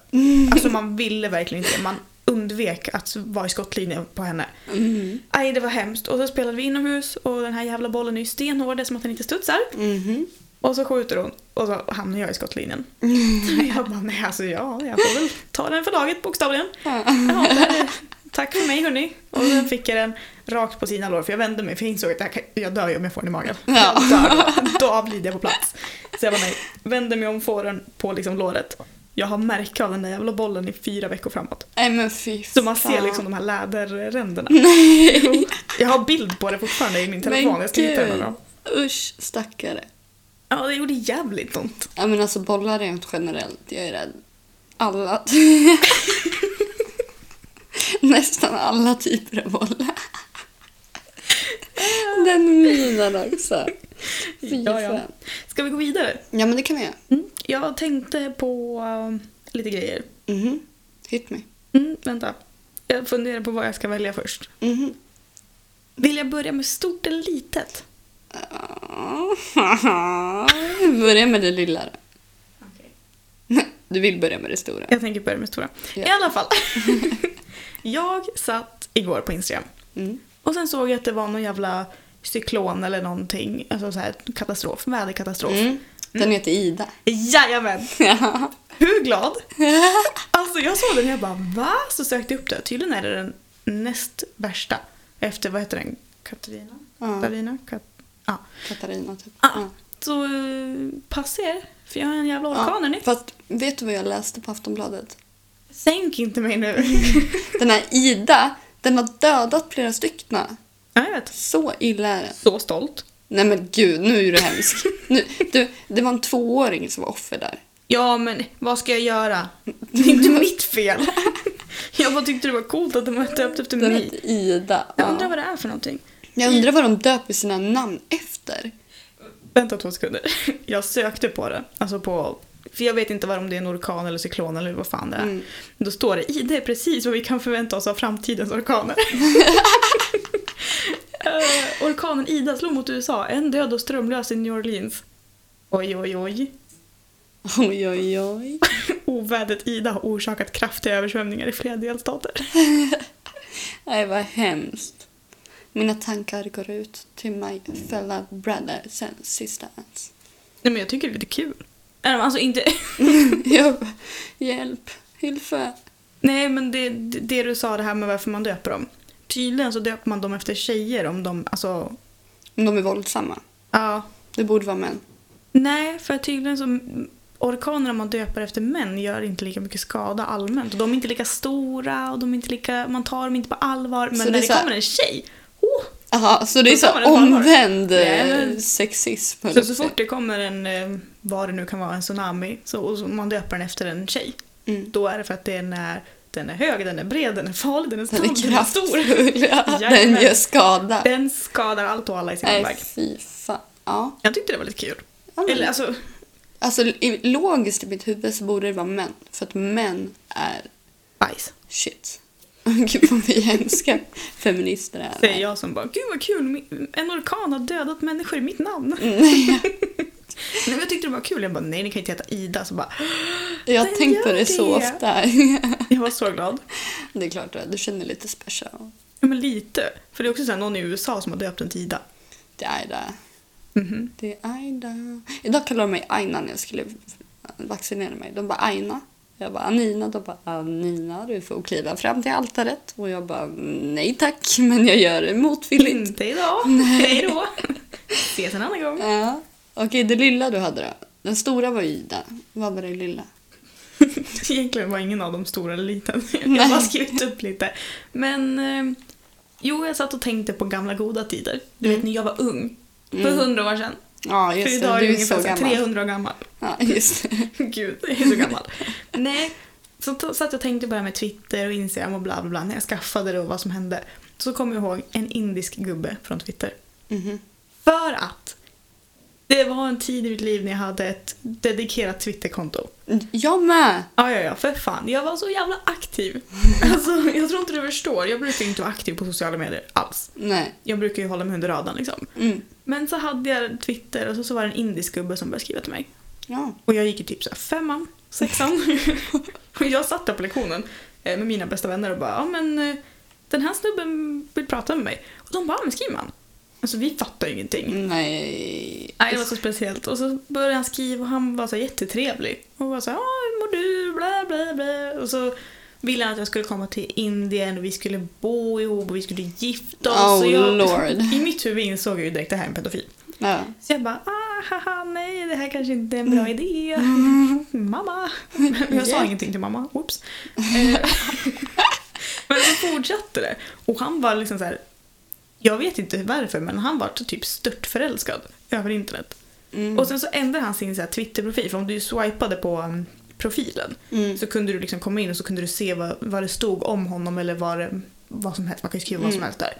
Speaker 2: Alltså man ville verkligen inte det. Man undvek att vara i skottlinjen på henne.
Speaker 1: Mm.
Speaker 2: Aj, det var hemskt. Och så spelade vi inomhus och den här jävla bollen är ju stenhård, som att den inte studsar.
Speaker 1: Mhm.
Speaker 2: Och så skjuter hon och så hamnar jag i skottlinjen.
Speaker 1: Mm.
Speaker 2: Så jag bara, nej alltså ja, jag får väl ta den för laget bokstavligen.
Speaker 1: Ja.
Speaker 2: Ja, där. Tack för mig hörni. Och sen fick jag den rakt på sina lår för jag vände mig för jag insåg att det här kan, jag dör ju om jag får den i magen.
Speaker 1: Ja.
Speaker 2: Jag dör, då. då avlider jag på plats. Så jag bara nej, vände mig om, får den på liksom låret. Jag har märke av den där jävla bollen i fyra veckor framåt.
Speaker 1: Nej men fy
Speaker 2: Så man ser
Speaker 1: fan.
Speaker 2: liksom de här läderränderna.
Speaker 1: Nej.
Speaker 2: Jo, Jag har bild på det fortfarande i min telefon, jag ska hitta den någon gång.
Speaker 1: Usch, stackare.
Speaker 2: Ja, det gjorde jävligt ont.
Speaker 1: Ja men alltså bollar rent generellt, jag är rädd. Alla... Nästan alla typer av bollar. Den minen också. Fy
Speaker 2: Ja, ja. Mm.
Speaker 1: fan.
Speaker 2: Ska vi gå vidare?
Speaker 1: ja men det kan vi göra.
Speaker 2: Jag tänkte på um, lite grejer.
Speaker 1: Mhm. Hit me.
Speaker 2: Mm, vänta. Jag funderar på vad jag ska välja först.
Speaker 1: Mhm.
Speaker 2: Vill jag börja med stort eller litet?
Speaker 1: Börja med det lilla då. Du vill börja med det stora.
Speaker 2: Jag tänker börja med stora.
Speaker 1: Ja.
Speaker 2: I alla fall. jag satt igår på Instagram
Speaker 1: Mm.
Speaker 2: och sen såg jag att det var någon jävla cyklon eller någonting. Alltså så här katastrof, väderkatastrof.
Speaker 1: Mm. Den heter Ida.
Speaker 2: Jajamän! Hur glad? Alltså jag såg den och jag bara va? Så sökte jag upp det. Tydligen är det den näst värsta. Efter vad heter den? Katarina?
Speaker 1: Ja,
Speaker 2: Katarina? Kat- ja.
Speaker 1: Katarina typ.
Speaker 2: Ah.
Speaker 1: Ja.
Speaker 2: Så eh, passa er, för jag har en jävla orkan hörni.
Speaker 1: Fast vet du vad jag läste på Aftonbladet?
Speaker 2: Sänk inte mig nu.
Speaker 1: Den här Ida, den har dödat flera stycken.
Speaker 2: ja, jag vet.
Speaker 1: Så illa är den.
Speaker 2: Så stolt.
Speaker 1: Nej men gud, nu är du hemsk. Nu, du, det var en tvååring som var offer där.
Speaker 2: Ja, men vad ska jag göra? Det är inte mitt fel. jag bara tyckte det var coolt att de var döpt efter
Speaker 1: Den
Speaker 2: mig.
Speaker 1: hette Ida.
Speaker 2: Jag undrar
Speaker 1: Ja.
Speaker 2: vad det är för någonting.
Speaker 1: Jag undrar vad de döper sina namn efter.
Speaker 2: Vänta två sekunder. Jag sökte på det. Alltså på... För jag vet inte vad om det är en orkan eller cyklon eller vad fan det är.
Speaker 1: Mm.
Speaker 2: Då står det i det är precis vad vi kan förvänta oss av framtidens orkaner. Eh, orkanen Ida slog mot USA, en död och strömlös i New Orleans. Oj, oj, oj.
Speaker 1: Oj, oj, oj.
Speaker 2: Ovädret Ida har orsakat kraftiga översvämningar i flera delstater.
Speaker 1: Nej, vad hemskt. Mina tankar går ut till my fellow brother sen sista ens.
Speaker 2: Nej, men jag tycker det är lite kul. Eh, Alltså inte...
Speaker 1: Jag bara, Hjälp, Hylfe.
Speaker 2: Nej, men det, det det du sa, det här med varför man döper dem. Tydligen så döper man dem efter tjejer om de, alltså...
Speaker 1: Men De är våldsamma.
Speaker 2: Ja.
Speaker 1: Det borde vara män.
Speaker 2: Nej, för tydligen så orkanerna man döper efter män gör inte lika mycket skada allmänt. Och de är inte lika stora och de är inte lika, man tar dem inte på allvar. Men
Speaker 1: Så det
Speaker 2: när
Speaker 1: är
Speaker 2: det,
Speaker 1: så här-
Speaker 2: kommer en tjej, oh,
Speaker 1: Aha, så det är
Speaker 2: Då
Speaker 1: så
Speaker 2: tar man
Speaker 1: här
Speaker 2: den på allvar.
Speaker 1: omvänd
Speaker 2: Nej,
Speaker 1: eh,
Speaker 2: men-
Speaker 1: sexism. höll
Speaker 2: så,
Speaker 1: jag
Speaker 2: så
Speaker 1: på att
Speaker 2: fort det kommer en, eh, vad det nu kan vara, en tsunami så, och så man döper den efter en tjej.
Speaker 1: säga. Mm.
Speaker 2: Då är det för att den är, den är hög, den är bred, den är farlig, den är
Speaker 1: Den
Speaker 2: snabb,
Speaker 1: är
Speaker 2: den är stor.
Speaker 1: kraftfull. Ja, den
Speaker 2: Jajamän.
Speaker 1: gör skada.
Speaker 2: Den skadar allt och alla i sin
Speaker 1: Nej,
Speaker 2: väg.
Speaker 1: fy fan. Ja.
Speaker 2: Jag tyckte det var lite kul.
Speaker 1: Ja, men-
Speaker 2: Eller alltså,
Speaker 1: Alltså i- logiskt i mitt huvud så borde det vara män. För att män är
Speaker 2: bajs.
Speaker 1: shit. Gud vad vi är hemska feminister är.
Speaker 2: Säger jag som bara, gud vad kul, min- en orkan har dödat människor i mitt namn.
Speaker 1: Mm. Nej,
Speaker 2: Nej, men jag tyckte det var kul, jag bara, nej ni kan inte heta Ida. Så bara,
Speaker 1: jag har
Speaker 2: Den
Speaker 1: tänkt på
Speaker 2: gör
Speaker 1: det så
Speaker 2: det.
Speaker 1: ofta.
Speaker 2: jag var så glad.
Speaker 1: Det är klart, du känner dig lite special.
Speaker 2: Ja, men lite. För det är också så här, någon i USA som har döpt den till Ida.
Speaker 1: Det är Aida.
Speaker 2: Mhm.
Speaker 1: Det är Aida. Idag kallar de mig Aina när jag skulle vaccinera mig. De bara Aina. Jag bara Anina. De bara Anina, du får kliva fram till altaret. Och jag bara nej tack, men jag gör det motvilligt.
Speaker 2: Inte idag. Hej då. Ses en annan gång.
Speaker 1: Ja. Okej, det lilla du hade då? Den stora var ju Ida. Vad var det lilla?
Speaker 2: Egentligen var ingen av dem stor eller liten. Jag
Speaker 1: Nej.
Speaker 2: har bara skrivit upp lite. Men eh, jo, jag satt och tänkte på gamla goda tider. Du vet när jag var ung. För
Speaker 1: Mm.
Speaker 2: hundra år sedan.
Speaker 1: Ja,
Speaker 2: För
Speaker 1: just det.
Speaker 2: idag är
Speaker 1: Du
Speaker 2: jag
Speaker 1: är så
Speaker 2: ungefär så här
Speaker 1: gammal.
Speaker 2: 300 år gammal.
Speaker 1: Ja, just det.
Speaker 2: Gud, jag är så gammal. Nej, så t- satt jag och tänkte bara med Twitter och Instagram och bla bla bla. När jag skaffade det och vad som hände. Så kom jag ihåg en indisk gubbe från Twitter.
Speaker 1: Mhm.
Speaker 2: För att det var en tid i mitt liv när jag hade ett dedikerat Twitterkonto.
Speaker 1: Jag med!
Speaker 2: Ja, ja, ja, för fan. Jag var så jävla aktiv. Alltså, jag tror inte du förstår. Jag brukar inte vara aktiv på sociala medier alls.
Speaker 1: Nej.
Speaker 2: Jag brukar ju hålla mig under radarn liksom.
Speaker 1: Mm.
Speaker 2: Men så hade jag Twitter och så, så var det en indisk gubbe som började skriva till mig.
Speaker 1: Ja.
Speaker 2: Och jag gick i typ så här femman, sexan. och jag satt där på lektionen eh, med mina bästa vänner och bara ja men eh, den här snubben vill prata med mig. Och de bara ja men skriv man. Alltså vi fattar ju
Speaker 1: Mm.
Speaker 2: ingenting.
Speaker 1: Nej.
Speaker 2: Nej, det var så speciellt. Och så började han skriva och han var så här jättetrevlig. Och var så här, "Ja, hur mår du? Bla, bla, bla. Och så ville han att jag skulle komma till Indien och vi skulle bo ihop och vi skulle gifta oss.
Speaker 1: Oh,
Speaker 2: och jag,
Speaker 1: Lord.
Speaker 2: I mitt huvud insåg jag ju direkt att det här är en pedofil.
Speaker 1: Ja.
Speaker 2: Så jag bara, ah, haha, nej, det här kanske inte är en bra idé. mamma. Men jag sa
Speaker 1: Hjälp.
Speaker 2: ingenting till mamma, whoops. Eh, men så fortsatte det. Och han var liksom så här, jag vet inte varför, men han var typ störtförälskad över internet.
Speaker 1: Mm.
Speaker 2: Och sen så ändrade han sin så här Twitter-profil, för om du swipade på um, profilen
Speaker 1: Mm.
Speaker 2: så kunde du liksom komma in och så kunde du se vad, vad det stod om honom eller vad, det, vad som helst. Man kan ju skriva vad som
Speaker 1: Mm.
Speaker 2: helst där.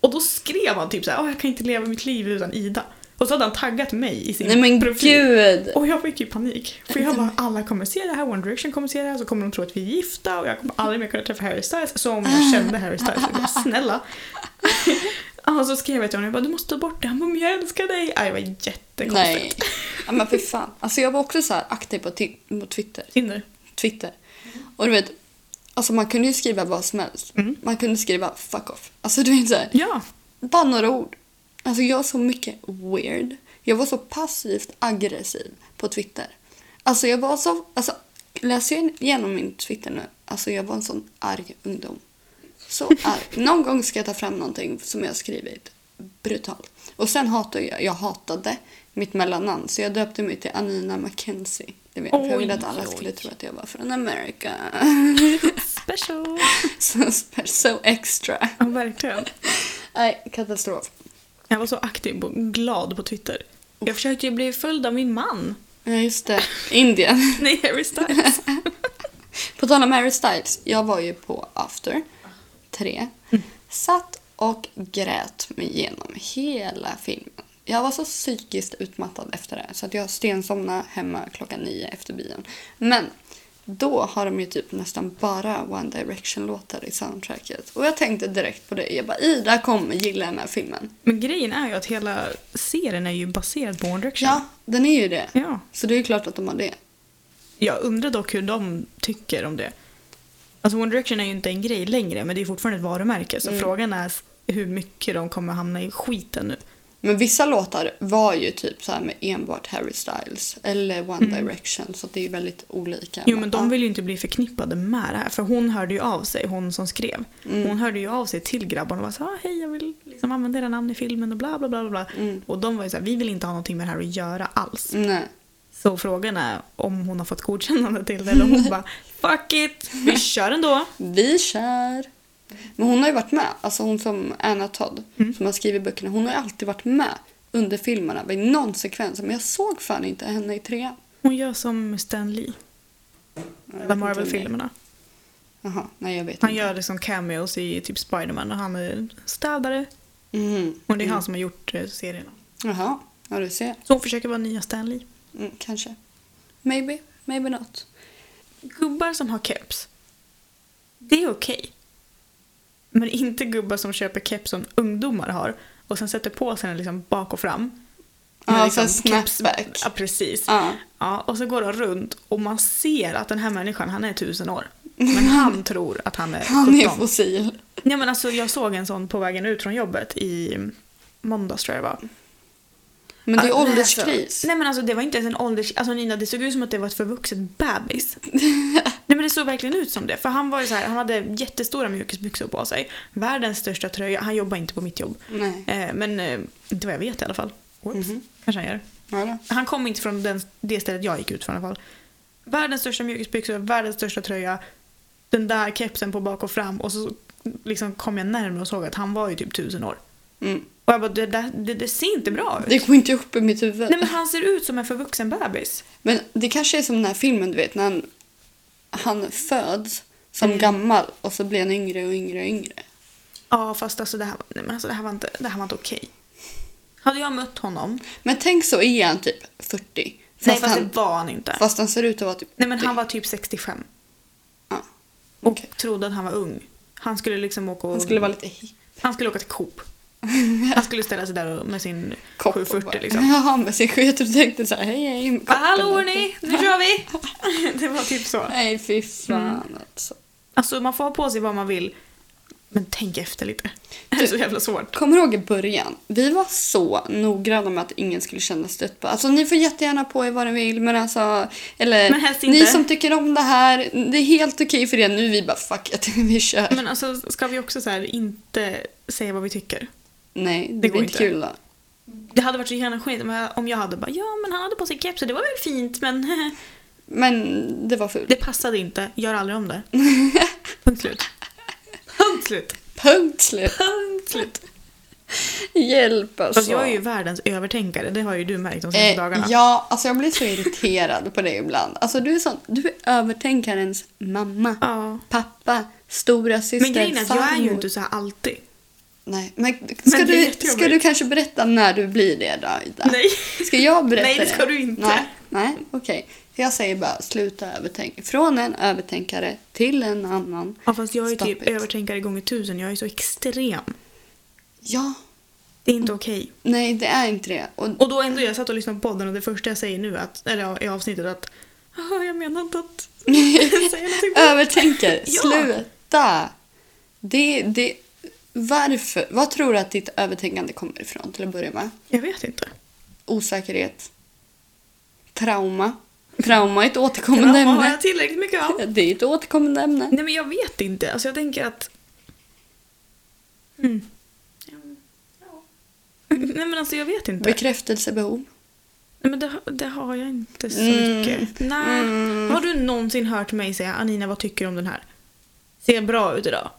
Speaker 2: Och då skrev han typ så här, "Åh, jag kan inte leva mitt liv utan Ida. Och så hade han taggat mig i sin
Speaker 1: Nej men
Speaker 2: profil.
Speaker 1: gud!
Speaker 2: Och jag fick ju panik. För jag bara, alla kommer se det här, One Direction kommer se det här, så kommer de tro att vi är gifta och jag kommer aldrig mer kunna träffa Harry Styles. Så om jag kände Harry Styles, jag bara, snälla. Och så skrev jag till honom, jag bara, du måste ta bort det. Han bara, men jag älskar dig. Ah, det var jättekonstigt.
Speaker 1: Nej. Ja, men för fan. Alltså jag var också så här aktiv på, ti- på Twitter.
Speaker 2: Tinder.
Speaker 1: Twitter. Och du vet, alltså man kunde ju skriva vad som helst.
Speaker 2: Mm.
Speaker 1: Man kunde skriva fuck off. Alltså du vet så här,
Speaker 2: Ja.
Speaker 1: bara några ord. Alltså jag var så mycket weird. Jag var så passivt aggressiv på Twitter. Alltså jag var så, alltså läser jag igenom min Twitter nu, alltså jag var en sån arg ungdom. Så arg. Någon gång ska jag ta fram någonting som jag har skrivit. Brutalt. Och sen hatade jag, jag hatade mitt mellannamn så jag döpte mig till Anina Mackenzie. Det vet, för jag ville att
Speaker 2: Oj,
Speaker 1: alla
Speaker 2: oj.
Speaker 1: skulle tro att jag var från America.
Speaker 2: Special.
Speaker 1: så, so extra.
Speaker 2: Ja, verkligen.
Speaker 1: Nej, katastrof.
Speaker 2: Jag var så aktiv och glad på Twitter. Jag försökte ju bli följd av min man.
Speaker 1: Ja, just det. Indien.
Speaker 2: Nej, Harry Styles.
Speaker 1: På tal om Harry Styles, jag var ju på After 3. Satt och grät mig igenom hela filmen. Jag var så psykiskt utmattad efter det här, så att jag stensomnade hemma klockan nio efter bion. Men då har de ju typ nästan bara One Direction-låtar i soundtracket. Och jag tänkte direkt på det. Jag bara Ida kommer gilla den här filmen.
Speaker 2: Men grejen är ju att hela serien är ju baserad på One Direction.
Speaker 1: Ja, den är ju det.
Speaker 2: ja.
Speaker 1: Så det är ju klart att de har det.
Speaker 2: Jag undrar dock hur de tycker om det. Alltså One Direction är ju inte en grej längre, men det är fortfarande ett varumärke. Så
Speaker 1: Mm.
Speaker 2: frågan är hur mycket de kommer hamna i skiten nu.
Speaker 1: Men vissa låtar var ju typ så här med enbart Harry Styles eller One Direction så att det är ju väldigt olika.
Speaker 2: Mm. Jo, men de vill ju inte bli förknippade med det här. För hon hörde ju av sig, hon som skrev.
Speaker 1: Mm.
Speaker 2: Hon hörde ju av sig till grabbarna och var så här, "Ah, hej jag vill liksom använda era namn i filmen och bla bla bla. bla. bla."
Speaker 1: Mm.
Speaker 2: Och de var ju så här, vi vill inte ha någonting med det här att göra alls.
Speaker 1: Nej.
Speaker 2: Så frågan är om hon har fått godkännande till det eller om hon bara “fuck it, vi kör ändå”.
Speaker 1: Vi kör! Men hon har ju varit med, alltså hon som Anna Todd,
Speaker 2: Mm.
Speaker 1: som har skrivit böckerna, hon har ju alltid varit med under filmerna vid någon sekvens. Men jag såg fan inte henne i trean.
Speaker 2: Hon gör som Stan Lee,
Speaker 1: Jag vet
Speaker 2: alla
Speaker 1: inte om
Speaker 2: Marvel-filmerna.
Speaker 1: det- Jaha, nej jag vet
Speaker 2: Han
Speaker 1: inte.
Speaker 2: gör liksom cameos i typ Spiderman och han är städare.
Speaker 1: Mhm.
Speaker 2: Och det är han som har gjort eh, serierna.
Speaker 1: Jaha, ja du ser.
Speaker 2: Så hon försöker vara nya Stan Lee.
Speaker 1: Mm, kanske. Maybe, maybe not.
Speaker 2: Gubbar som har keps, det är okej. Men inte gubbar som köper keps som ungdomar har och sen sätter på sig den liksom bak och fram.
Speaker 1: Ja,
Speaker 2: Med liksom
Speaker 1: så här snapback.
Speaker 2: Ja, precis.
Speaker 1: Ja.
Speaker 2: Ja, och så går de runt och man ser att den här människan, han är tusen år. Men han tror att han är 17.
Speaker 1: Han är fossil.
Speaker 2: Nej, men alltså, jag såg en sån på vägen ut från jobbet i måndags tror jag det var.
Speaker 1: Men det är
Speaker 2: Ja, nej,
Speaker 1: ålderskris.
Speaker 2: Alltså, nej men alltså det var inte ens en ålders... Alltså Nina det såg ut som att det var ett förvuxet bebis. nej men det såg verkligen ut som det. För han var ju så här, han hade jättestora mjukisbyxor på sig. Världens största tröja. Han jobbar inte på mitt jobb.
Speaker 1: Nej.
Speaker 2: Eh, men eh, inte vad jag vet i alla fall. Whoops.
Speaker 1: Mhm.
Speaker 2: Kanske han gör.
Speaker 1: Ja, då.
Speaker 2: Han kom inte från den, det stället jag gick ut från i alla fall. Världens största mjukisbyxor, världens största tröja. Den där kepsen på bak och fram. Och så liksom kom jag närmare och såg att han var ju typ tusen år.
Speaker 1: Mm.
Speaker 2: Och jag bara, det, där- det, det ser inte bra ut.
Speaker 1: Det går inte ihop i mitt huvud.
Speaker 2: Nej men han ser ut som en förvuxen bebis.
Speaker 1: Men det kanske är som den här filmen, du vet, när han, han föds som
Speaker 2: Mm.
Speaker 1: gammal och så blir han yngre och yngre och yngre.
Speaker 2: Ja fast alltså det här, var- nej, men alltså, det här var inte, det här var inte okej. Hade jag mött honom?
Speaker 1: Men tänk så är han typ 40. Fast,
Speaker 2: nej fast
Speaker 1: han,
Speaker 2: det var han inte.
Speaker 1: fast han ser ut att vara typ
Speaker 2: nej men han
Speaker 1: 80.
Speaker 2: var typ 65.
Speaker 1: Ja.
Speaker 2: Och
Speaker 1: Okej.
Speaker 2: trodde att han var ung. Han skulle liksom åka och,
Speaker 1: Han skulle vara lite hipp.
Speaker 2: han skulle åka till Coop. Han skulle ställa sig där och- med sin
Speaker 1: Kopp och
Speaker 2: 740
Speaker 1: bara-
Speaker 2: liksom.
Speaker 1: Ja, men sen jag tror- tänkte så här, hej hej. med
Speaker 2: Bara,
Speaker 1: koppen
Speaker 2: Hallå
Speaker 1: och-
Speaker 2: hörni, nu kör vi! det var typ så.
Speaker 1: Nej, fy fan alltså.
Speaker 2: Alltså man får ha på sig vad man vill. Men tänk efter lite. Det är så jävla svårt.
Speaker 1: Kommer du ihåg i början? Vi var så noggranna med att ingen skulle känna stött på. Alltså ni får jättegärna på er vad ni vill men alltså... Eller
Speaker 2: Men helst
Speaker 1: ni
Speaker 2: inte.
Speaker 1: som tycker om det här, det är helt okej för er. Nu är vi bara fuck it, vi kör.
Speaker 2: Men alltså ska vi också så här inte säga vad vi tycker?
Speaker 1: Nej, det, blir
Speaker 2: går
Speaker 1: inte
Speaker 2: inte.
Speaker 1: kul då.
Speaker 2: Det hade varit så jävla skit om jag- om jag hade bara ja men han hade på sig keps och det var väl fint men
Speaker 1: Men det var fult.
Speaker 2: det passade inte, gör aldrig om det. Punkt slut. Punkt slut.
Speaker 1: Punkt slut.
Speaker 2: Punkt slut.
Speaker 1: Hjälp alltså.
Speaker 2: Fast jag är ju världens övertänkare, det har ju du märkt de senaste dagarna.
Speaker 1: Eh, ja, alltså jag blir så irriterad på dig ibland. Alltså du är sån, du är övertänkarens mamma,
Speaker 2: Ja.
Speaker 1: pappa, stora syster,
Speaker 2: Men grejen är att jag är ju
Speaker 1: farmor.
Speaker 2: inte så här alltid.
Speaker 1: Nej, men ska,
Speaker 2: Men det är
Speaker 1: du,
Speaker 2: jättejobbigt.
Speaker 1: ska du kanske berätta när du blir det då, Ida?
Speaker 2: Nej.
Speaker 1: Ska jag berätta
Speaker 2: Nej, det ska du inte.
Speaker 1: Nej, nej okej. Jag säger bara sluta övertänka. Från en övertänkare till en annan.
Speaker 2: Ja fast jag är ju
Speaker 1: Stop
Speaker 2: typ
Speaker 1: it.
Speaker 2: övertänkare gånger tusen, jag är så extrem.
Speaker 1: Ja,
Speaker 2: Det är
Speaker 1: Mm.
Speaker 2: inte okej.
Speaker 1: nej det är inte det. Och,
Speaker 2: Och då ändå, jag satt och lyssnade på podden och det första jag säger nu, att, eller ja, i avsnittet att "Haha, jag menar inte att säga någonting på
Speaker 1: övertänker,
Speaker 2: Ja.
Speaker 1: sluta! Det, det, varför? Vad tror du att ditt övertänkande kommer ifrån till att börja med?
Speaker 2: Jag vet inte.
Speaker 1: Osäkerhet? Trauma? Trauma är ett återkommande
Speaker 2: Ja, har
Speaker 1: ämne.
Speaker 2: jag tillräckligt mycket av?
Speaker 1: Det är ett återkommande ämne.
Speaker 2: Nej men jag vet inte. Alltså jag tänker att... Mm. Nej men alltså jag vet inte.
Speaker 1: Bekräftelsebehov.
Speaker 2: Nej, men det, det har jag inte så
Speaker 1: Mm.
Speaker 2: mycket. Nej.
Speaker 1: Mm.
Speaker 2: Har du någonsin hört mig säga Anina vad tycker du om den här? Ser jag bra ut idag?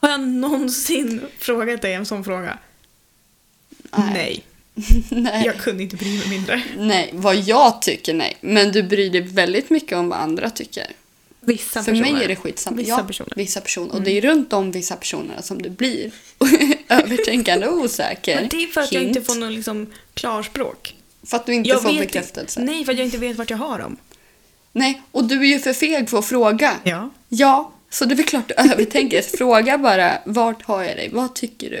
Speaker 2: Har jag någonsin frågat dig en sån fråga? Nej.
Speaker 1: nej.
Speaker 2: Jag kunde inte bry mig mindre.
Speaker 1: Nej, vad jag tycker nej. Men du bryr dig väldigt mycket om vad andra tycker.
Speaker 2: Vissa
Speaker 1: För
Speaker 2: personer.
Speaker 1: mig är det skitsamma.
Speaker 2: Vissa
Speaker 1: ja,
Speaker 2: personer. Mm.
Speaker 1: Vissa personer. Och det är runt om vissa personer som du blir övertänkande och osäker.
Speaker 2: Men det är för att jag
Speaker 1: Hint.
Speaker 2: inte får någon liksom klarspråk.
Speaker 1: För att du inte
Speaker 2: Jag
Speaker 1: får
Speaker 2: vet
Speaker 1: bekräftelse.
Speaker 2: Inte. Nej, för att jag inte vet vart jag har dem.
Speaker 1: Nej, och du är ju för feg för att fråga.
Speaker 2: Ja.
Speaker 1: Ja, så det är väl klart du övertänker. Fråga bara, vart har jag dig? Vad tycker du?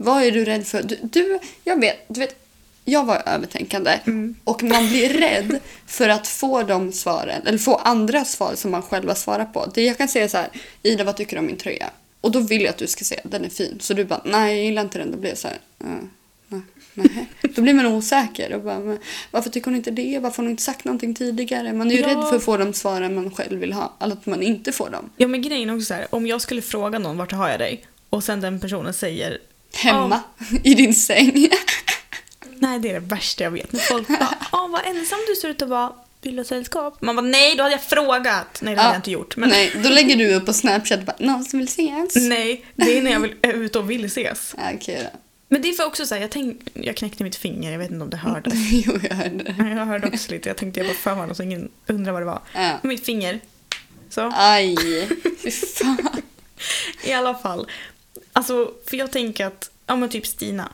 Speaker 1: Vad är du rädd för? Du, du jag vet, du vet, jag var övertänkande och man blir rädd för att få de svaren, eller få andra svar som man själv har svarat på. Det jag kan säga så här, Ida vad tycker du om min tröja? Och då vill jag att du ska säga, den är fin. Så du bara, nej jag gillar inte den. Då blir jag så här, "Eh, nej, nej. Då blir man osäker. Och bara, men varför tycker hon inte det? Varför har hon inte sagt någonting tidigare? Man är ju
Speaker 2: Ja.
Speaker 1: rädd för att få de svaren man själv vill ha. Eller att man inte får dem.
Speaker 2: Ja men grejen är också så här, om jag skulle fråga någon vart har jag dig och sen den personen säger
Speaker 1: Hemma i din säng.
Speaker 2: nej det är det värsta jag vet. När folk bara Åh, vad ensam du ser ut att vara. Vill du ha sällskap? Man bara, nej, då hade jag frågat. Nej, det hade jag inte gjort. Men nej.
Speaker 1: Nej, då lägger du upp på Snapchat och bara “någon som vill ses?”
Speaker 2: det är när jag vill, är ute och vill ses.
Speaker 1: Ja, Okej då.
Speaker 2: Men det är för också så här, jag, tänk, jag knäckte mitt finger, jag vet inte om det hördes.
Speaker 1: jo, jag hörde det.
Speaker 2: Jag hörde också lite, jag tänkte jag bara för honom så ingen undrar vad det var.
Speaker 1: Ja.
Speaker 2: Mitt finger. Så.
Speaker 1: Aj, fy fan.
Speaker 2: I alla fall. Alltså, för jag tänker att, ja men typ Stina.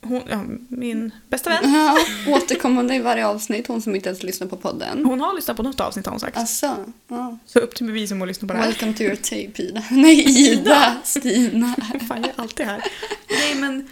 Speaker 2: Hon, ja, min bästa vän.
Speaker 1: Ja, återkommande i varje avsnitt, hon som inte ens lyssnar på podden.
Speaker 2: Hon har lyssnat på något avsnitt har hon sagt.
Speaker 1: Alltså, ja.
Speaker 2: Så upp till bevis om hon lyssnar på det här.
Speaker 1: Welcome to your tape, Ida. Nej, Ida! Stina.
Speaker 2: Fan, jag är alltid här. Nej, men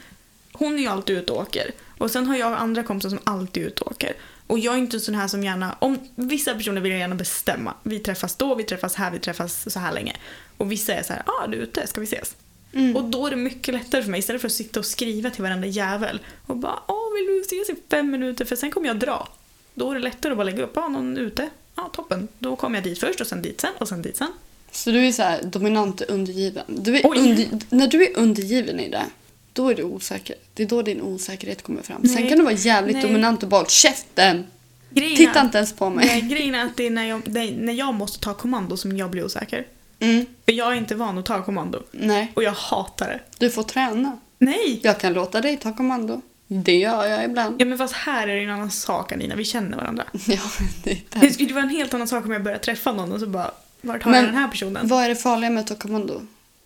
Speaker 2: hon är ju alltid ute och åker. Och sen har jag andra kompisar som alltid är ute och åker. Och jag är inte sån här som gärna... Om, vissa personer vill jag gärna bestämma. Vi träffas då, vi träffas här, vi träffas så här länge. Och vissa är så här, ah, du är ute, ska vi ses?
Speaker 1: Mm.
Speaker 2: Och då är det mycket lättare för mig istället för att sitta och skriva till varenda jävel och bara, ah, vill du ses i fem minuter? För sen kommer jag dra. Då är det lättare att bara lägga upp, ah, någon är ute. Ja, ah, toppen. Då kommer jag dit först och sen dit sen och sen dit sen.
Speaker 1: Så du är så här dominant och undergiven. Du är
Speaker 2: Oj.
Speaker 1: under, när du är undergiven i det, då är du osäker. Det är då din osäkerhet kommer fram. Sen
Speaker 2: Nej.
Speaker 1: kan du vara jävligt
Speaker 2: Nej.
Speaker 1: dominant och bara "Håll käften!
Speaker 2: Grejen är-
Speaker 1: Titta inte ens på mig.
Speaker 2: Nej, grejen är att det är när jag, det är när jag måste ta kommando som jag blir osäker.
Speaker 1: Mm,
Speaker 2: För jag är inte van att ta kommando.
Speaker 1: nej,
Speaker 2: Och jag hatar det.
Speaker 1: du får träna.
Speaker 2: Nej!
Speaker 1: Jag kan låta dig ta kommando. Det gör jag ibland.
Speaker 2: Ja men fast här är det ju en annan sak Anina, vi känner varandra.
Speaker 1: Ja, det är det.
Speaker 2: Det skulle ju vara en helt annan sak om jag börjar träffa någon och så bara, vart har
Speaker 1: Men-
Speaker 2: jag den här personen?
Speaker 1: Vad är det farliga med att ta kommando?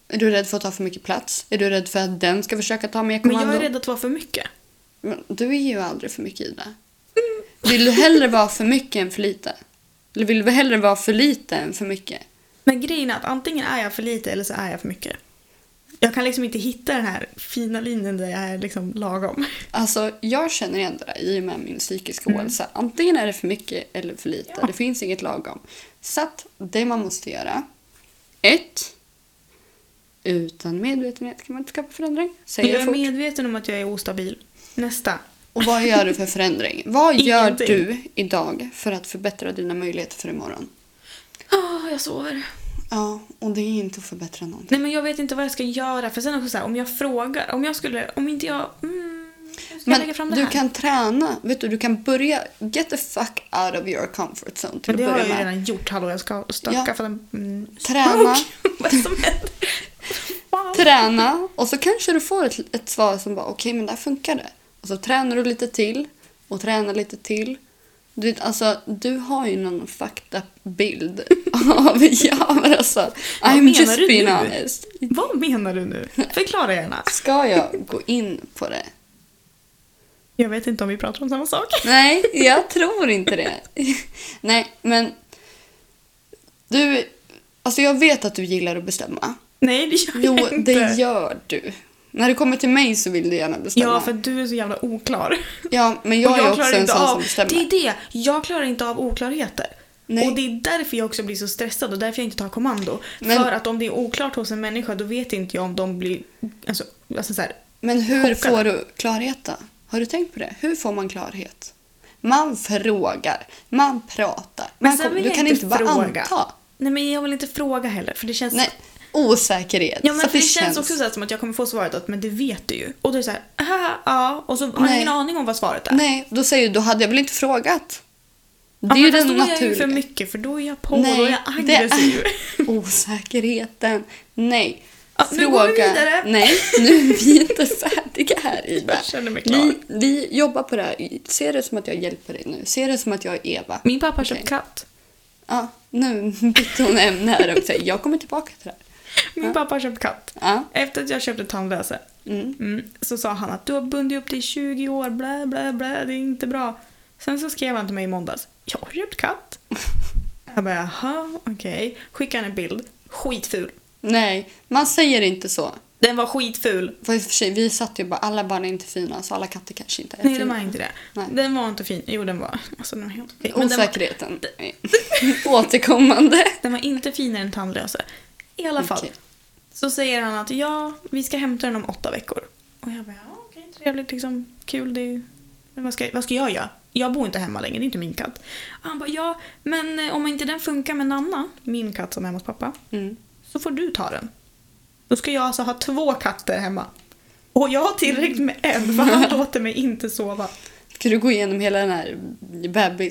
Speaker 1: Är du rädd för att ta för mycket plats? Är du rädd för att den ska försöka ta mer
Speaker 2: Men
Speaker 1: kommando?
Speaker 2: jag är rädd att vara för mycket.
Speaker 1: Men du är ju aldrig för mycket Ida. Vill du hellre vara för mycket än för lite? Eller vill du hellre vara för lite än för mycket?
Speaker 2: Men grejen är att antingen är jag för lite eller så är jag för mycket. Jag kan liksom inte hitta den här fina linjen där jag är liksom lagom.
Speaker 1: Alltså, jag känner igen det där i och med min psykiska ohälsa. Antingen är det för mycket eller för lite.
Speaker 2: Ja.
Speaker 1: Det finns inget lagom. Så att det man måste göra. Ett. Utan medvetenhet kan man inte skapa förändring. Säger
Speaker 2: Jag
Speaker 1: jag
Speaker 2: är
Speaker 1: fort.
Speaker 2: medveten om att jag är ostabil. Nästa.
Speaker 1: Och vad gör du för förändring? Vad gör
Speaker 2: Ingenting.
Speaker 1: du idag för att förbättra dina möjligheter för imorgon?
Speaker 2: Ah, jag sover.
Speaker 1: Ja, och det är inte att förbättra någonting.
Speaker 2: Nej men jag vet inte vad jag ska göra för sen också så här, om jag frågar, om jag skulle, om inte jag, mm, hur ska jag lägga fram
Speaker 1: Men
Speaker 2: det
Speaker 1: du
Speaker 2: här?
Speaker 1: kan träna. Vet du, du kan börja... Get the fuck out of your comfort zone till
Speaker 2: men
Speaker 1: att
Speaker 2: det har
Speaker 1: börja
Speaker 2: jag ju
Speaker 1: med.
Speaker 2: redan gjort, hallå jag ska stöka
Speaker 1: Ja.
Speaker 2: för den, mm,
Speaker 1: Träna.
Speaker 2: stroke. vad är det som händer? Fan.
Speaker 1: Träna och så kanske du får ett, ett svar som bara okej men där funkar det. Och så tränar du lite till och tränar lite till. Du, vet, alltså, du har ju någon fucked up bild av Jamar alltså.
Speaker 2: Vad
Speaker 1: I'm
Speaker 2: menar
Speaker 1: just
Speaker 2: du
Speaker 1: being
Speaker 2: nu?
Speaker 1: honest.
Speaker 2: Vad menar du nu? Förklara gärna.
Speaker 1: Ska jag gå in på det?
Speaker 2: Jag vet inte om vi pratar om samma sak.
Speaker 1: Nej, jag tror inte det. Nej, men du, alltså jag vet att du gillar att bestämma.
Speaker 2: Nej det gör
Speaker 1: Jo,
Speaker 2: jag inte.
Speaker 1: det gör du. När du kommer till mig så vill du gärna bestämma.
Speaker 2: Ja för du är så jävla oklar.
Speaker 1: Ja, men jag,
Speaker 2: Och
Speaker 1: är också en sån
Speaker 2: av,
Speaker 1: som bestämmer.
Speaker 2: Det är det, jag klarar inte av oklarheter.
Speaker 1: Nej.
Speaker 2: Och det är därför jag också blir så stressad och därför jag inte tar kommando.
Speaker 1: Men-
Speaker 2: För att om det är oklart hos en människa då vet inte jag om de blir... Alltså, alltså så här,
Speaker 1: Men hur
Speaker 2: Chockad.
Speaker 1: får du klarhet då? Har du tänkt på det? Hur får man klarhet? Man frågar, man pratar.
Speaker 2: Men
Speaker 1: Man
Speaker 2: sen
Speaker 1: kom,
Speaker 2: vill
Speaker 1: du
Speaker 2: jag
Speaker 1: kan
Speaker 2: inte
Speaker 1: inte bara
Speaker 2: fråga.
Speaker 1: anta.
Speaker 2: Nej men jag vill inte fråga heller för det känns...
Speaker 1: Nej, osäkerhet.
Speaker 2: Ja men
Speaker 1: Så
Speaker 2: för
Speaker 1: att
Speaker 2: det, känns, också så här som att jag kommer få svaret att men det vet du ju. Och då är det såhär, ja. Och så har jag
Speaker 1: Nej.
Speaker 2: ingen aning om vad svaret är.
Speaker 1: Nej, då säger du då hade jag väl inte frågat. Det
Speaker 2: ja,
Speaker 1: är ju
Speaker 2: men fast
Speaker 1: den
Speaker 2: då är jag ju
Speaker 1: naturliga.
Speaker 2: för mycket för då är jag på och då är jag
Speaker 1: det är
Speaker 2: aggressiv.
Speaker 1: osäkerheten. Nej.
Speaker 2: Ja, nu går vi vidare.
Speaker 1: Nej, nu är vi inte färdiga här Ida.
Speaker 2: Jag känner mig klar.
Speaker 1: vi, vi jobbar på det här. Se det som att jag hjälper dig nu. Se det som att jag är Eva.
Speaker 2: Min pappa har köpt
Speaker 1: Okej.
Speaker 2: katt.
Speaker 1: Ja, nu bytte hon ämne här och säger jag kommer tillbaka till det här.
Speaker 2: Min pappa har köpt katt.
Speaker 1: Ja.
Speaker 2: Efter att jag köpte tandlöse
Speaker 1: Mm.
Speaker 2: mm, så sa han att du har bundit upp dig i 20 år, blä, blä, blä, det är inte bra. Sen så skrev han till mig i måndags. Jag har köpt katt. Jag bara, jaha, okej. Skickade han en bild. Skitful.
Speaker 1: Nej, man säger inte så.
Speaker 2: Den var skitful.
Speaker 1: För i och för sig, vi satt ju bara alla barn är inte fina så alla katter kanske inte är
Speaker 2: Nej, den
Speaker 1: fina.
Speaker 2: var inte det.
Speaker 1: Nej.
Speaker 2: Den var inte fin. Jo, den var... Alltså, den var helt okej. Men den, var,
Speaker 1: Osäkerheten. Återkommande.
Speaker 2: den var inte finare än tandlöse. I alla fall.
Speaker 1: Okej.
Speaker 2: Så säger han att ja, vi ska hämta den om åtta veckor. Och jag bara, ja, okej, trevligt, liksom, kul, det är ju... Men vad ska, vad ska jag göra? Jag bor inte hemma längre, det är inte min katt. Och han bara, ja, men eh, om inte den funkar med Nanna, min katt som är hemma hos pappa,
Speaker 1: Mm.
Speaker 2: så får du ta den. Då ska jag alltså ha två katter hemma. Och jag har tillräckligt med en, för han låter mig inte sova.
Speaker 1: Ska du gå igenom hela den här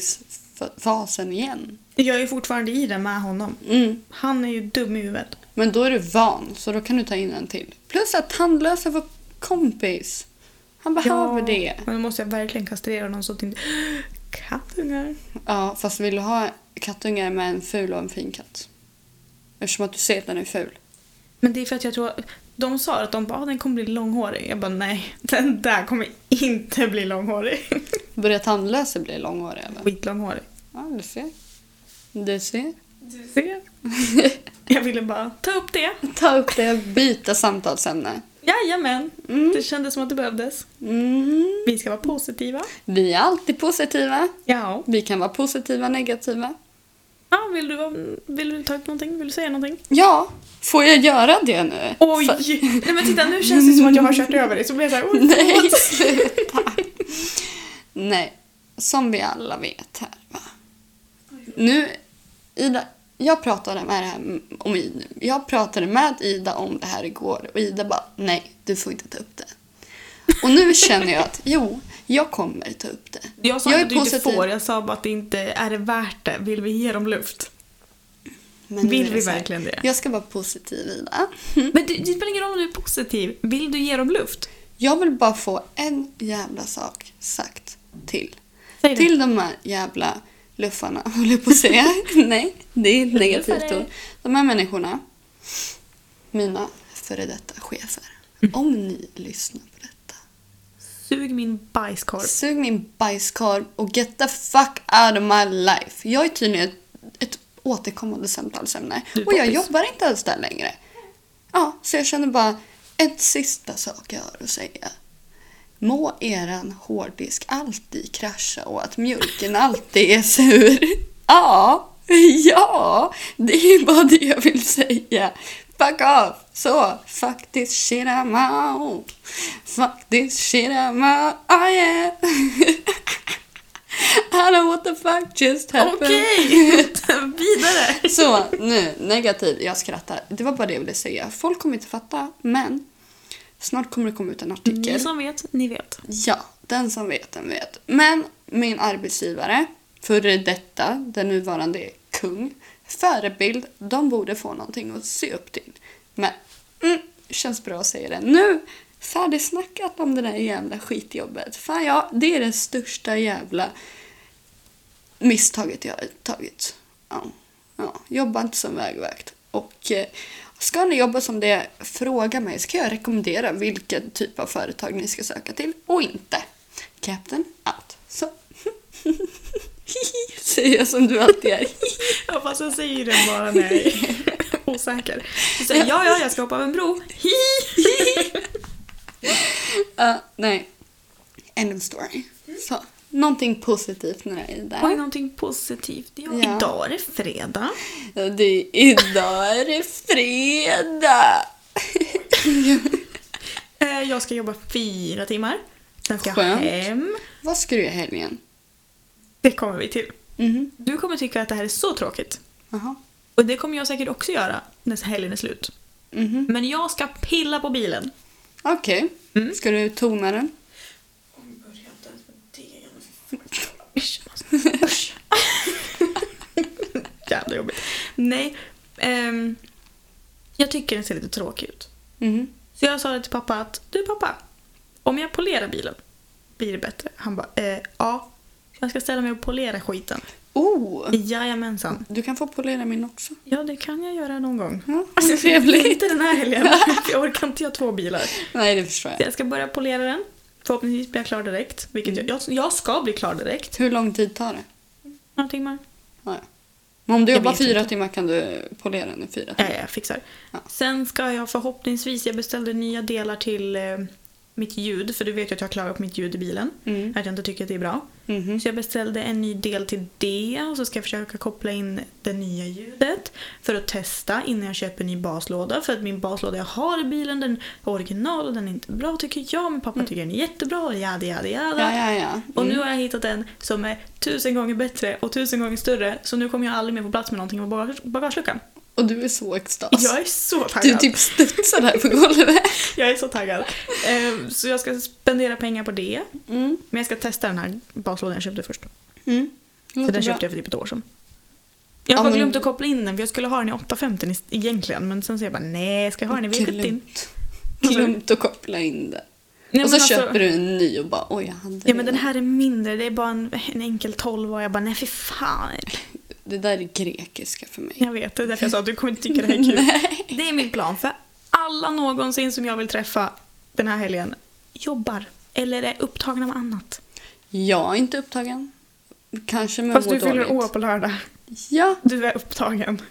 Speaker 1: bebisfasen igen?
Speaker 2: Jag är fortfarande i det med honom.
Speaker 1: Mm.
Speaker 2: Han är ju dum i huvudet.
Speaker 1: Men då är du van, så då kan du ta in en till. Plus att tandlösa var kompis. Han behöver det.
Speaker 2: Men då måste jag verkligen kastrera någon så att inte... Kattungar.
Speaker 1: Ja, fast vill du ha kattungar med en ful och en fin katt? Eftersom att du ser att den är ful.
Speaker 2: Men det är för att jag tror... De sa att de bara, "Ah, den kommer bli långhårig. Jag bara, nej. Den där kommer inte bli långhårig.
Speaker 1: Börjar tandlösa bli långhårig eller?
Speaker 2: Skitlånghårig.
Speaker 1: Ja, du ser. Du ser.
Speaker 2: Du ser. Jag ville bara ta upp det.
Speaker 1: Ta upp det och byta samtalsämne.
Speaker 2: Jajamän.
Speaker 1: Mm.
Speaker 2: Det kändes som att det behövdes.
Speaker 1: Mm.
Speaker 2: Vi ska vara positiva.
Speaker 1: Vi är alltid positiva.
Speaker 2: Ja.
Speaker 1: Vi kan vara positiva, negativa.
Speaker 2: ja vill, du, vara- vill du ta upp någonting? Vill du säga någonting?
Speaker 1: Ja, får jag göra det nu?
Speaker 2: Oj!
Speaker 1: För-
Speaker 2: Nej men titta, nu känns det som att jag har kört över dig. Så blir jag såhär, oj,
Speaker 1: Nej,
Speaker 2: förlåt.
Speaker 1: sluta. Nej, som vi alla vet här va. Nu, Ida, jag pratade med det här om Ida. Jag pratade med Ida om det här igår och Ida bara nej, du får inte ta upp det. Och nu känner jag att jo, jag kommer ta upp det.
Speaker 2: Jag sa
Speaker 1: Jag
Speaker 2: inte
Speaker 1: är
Speaker 2: att du inte
Speaker 1: positiv.
Speaker 2: får, jag sa bara att det inte är det värt det. Vill vi ge dem luft?
Speaker 1: Men nu
Speaker 2: Vill
Speaker 1: är det
Speaker 2: vi
Speaker 1: så här,
Speaker 2: verkligen det?
Speaker 1: Jag ska vara positiv Ida.
Speaker 2: Men det, det spelar ingen roll om du är positiv. Vill du ge dem luft?
Speaker 1: Jag vill bara få en jävla sak sagt till.
Speaker 2: Säg det.
Speaker 1: Till de här jävla luffarna, håller jag på att säga. Nej, det är ett negativt
Speaker 2: Luffare.
Speaker 1: ord. De här människorna, mina före detta chefer.
Speaker 2: Mm.
Speaker 1: Om ni lyssnar på detta.
Speaker 2: Sug min bajskorv.
Speaker 1: Sug min bajskorv och get the fuck out of my life. Jag är tydligen ett, ett återkommande samtalsämne.
Speaker 2: Du är
Speaker 1: Och jag
Speaker 2: poppis.
Speaker 1: jobbar inte ens där längre. Ja, så jag känner bara, en sista sak jag har att säga. Må eran hårddisk alltid krascha och att mjölken alltid är sur. Ja, ja, det är bara det jag vill säga. Fuck off! Så, fuck this shit I'm out. Fuck this shit I'm out, oh yeah. I don't what the fuck just happened.
Speaker 2: Okej! Vidare!
Speaker 1: Så nu, negativ, jag skrattar. Det var bara det jag ville säga. Folk kommer inte fatta, men snart kommer det komma ut en
Speaker 2: Ni
Speaker 1: artikel.
Speaker 2: som vet, ni vet.
Speaker 1: Ja, den som vet den vet. Men min arbetsgivare, före detta, den nuvarande kung, förebild, de borde få någonting att se upp till. Men, mm, känns bra att säga det nu. Färdigsnackat om det där jävla skitjobbet. Fan ja, det är det största jävla misstaget jag har tagit. Ja. Ja. Jobba inte som vägvakt. Och eh, ska ni jobba som det, fråga mig. Ska jag rekommendera vilken typ av företag ni ska söka till och inte. Captain out. Så. Säger jag som du alltid är.
Speaker 2: Ja, fast jag säger det bara när jag är osäker. Du säger ja, ja, jag ska hoppa av en bro. Hi!
Speaker 1: Ja, nej. End of story. Så. Någonting positivt nu är det
Speaker 2: Var det
Speaker 1: där.
Speaker 2: någonting positivt? Ja.
Speaker 1: Ja.
Speaker 2: Idag är det fredag.
Speaker 1: Det är idag är det fredag.
Speaker 2: Eh, Jag ska jobba fyra timmar. Sen ska jag
Speaker 1: Skönt.
Speaker 2: hem.
Speaker 1: Vad ska du göra i helgen?
Speaker 2: Det kommer vi till.
Speaker 1: Mhm.
Speaker 2: Du kommer tycka att det här är så tråkigt.
Speaker 1: Jaha.
Speaker 2: Och det kommer jag säkert också göra när helgen är slut.
Speaker 1: Mhm.
Speaker 2: Men jag ska pilla på bilen.
Speaker 1: Okej.
Speaker 2: Mm.
Speaker 1: Ska du tona den?
Speaker 2: Usch, usch. Jävla jobbigt. Nej. ehm, jag tycker den ser lite tråkig ut.
Speaker 1: Mhm.
Speaker 2: Så jag sa det till pappa att du pappa, om jag polerar bilen blir det bättre. Han bara eh, ja. Jag ska ställa mig och polera skiten.
Speaker 1: Oh!
Speaker 2: Jajamensan.
Speaker 1: Du kan få polera min också.
Speaker 2: Ja, det kan jag göra någon gång.
Speaker 1: Ja, vad trevligt.
Speaker 2: Inte den här helgen. Jag orkar inte ha två bilar.
Speaker 1: Nej, det förstår jag.
Speaker 2: Jag ska börja polera den. Förhoppningsvis blir jag klar direkt. Vilket jag, jag, jag ska bli klar direkt.
Speaker 1: Hur lång tid tar det?
Speaker 2: Några timmar.
Speaker 1: Ja, ja. Men om du
Speaker 2: Jag
Speaker 1: jobbar
Speaker 2: vet
Speaker 1: fyra
Speaker 2: inte.
Speaker 1: timmar kan du polera den i fyra
Speaker 2: Ja,
Speaker 1: timmar.
Speaker 2: jag fixar.
Speaker 1: Ja.
Speaker 2: Sen ska jag förhoppningsvis, jag beställde nya delar till eh, mitt ljud. För du vet ju att jag klagar på mitt ljud i bilen.
Speaker 1: Mm.
Speaker 2: Att jag inte tycker att det är bra.
Speaker 1: Mhm.
Speaker 2: Så jag beställde en ny del till det och så ska jag försöka koppla in det nya ljudet för att testa innan jag köper en ny baslåda. För att min baslåda jag har i bilen den är original och den är inte bra tycker jag men pappa tycker den är jättebra och jada jada jada.
Speaker 1: Mm. Ja, ja, ja.
Speaker 2: Och
Speaker 1: Mm.
Speaker 2: nu har jag hittat en som är tusen gånger bättre och tusen gånger större så nu kommer jag aldrig mer få plats med någonting i bagage- bagageluckan.
Speaker 1: Och du är så extas.
Speaker 2: Jag är så taggad.
Speaker 1: Alltså, Du typ studsar här på golvet.
Speaker 2: Jag är så taggad. Ehm, så jag ska spendera pengar på det.
Speaker 1: Mm.
Speaker 2: Men jag ska testa den här baslådan jag köpte först.
Speaker 1: Mm.
Speaker 2: För
Speaker 1: Låter
Speaker 2: den
Speaker 1: bra.
Speaker 2: köpte jag för typ ett år sedan. Jag har
Speaker 1: Ja,
Speaker 2: bara
Speaker 1: men-
Speaker 2: glömt att koppla in den för jag skulle ha den i 850 i- egentligen. Men sen så jag bara nej, ska jag ha den i V70?
Speaker 1: Glömt.
Speaker 2: Vad sa du?
Speaker 1: Glömt att koppla in det.
Speaker 2: Nej,
Speaker 1: och så
Speaker 2: men alltså-
Speaker 1: köper du en ny och bara oj, jag hade
Speaker 2: Ja men den
Speaker 1: redan.
Speaker 2: här är mindre, det är bara en, en enkel 12 och jag bara nej fy fan.
Speaker 1: Det där är grekiska för mig.
Speaker 2: Jag vet, det är därför jag sa att du kommer inte tycka det här är kul. Det är min plan för alla någonsin som jag vill träffa den här helgen jobbar eller är upptagna med annat.
Speaker 1: Jag är inte upptagen. Kanske men
Speaker 2: Fast
Speaker 1: mår
Speaker 2: du fyller
Speaker 1: dåligt.
Speaker 2: år på lördag.
Speaker 1: Ja,
Speaker 2: Du är upptagen.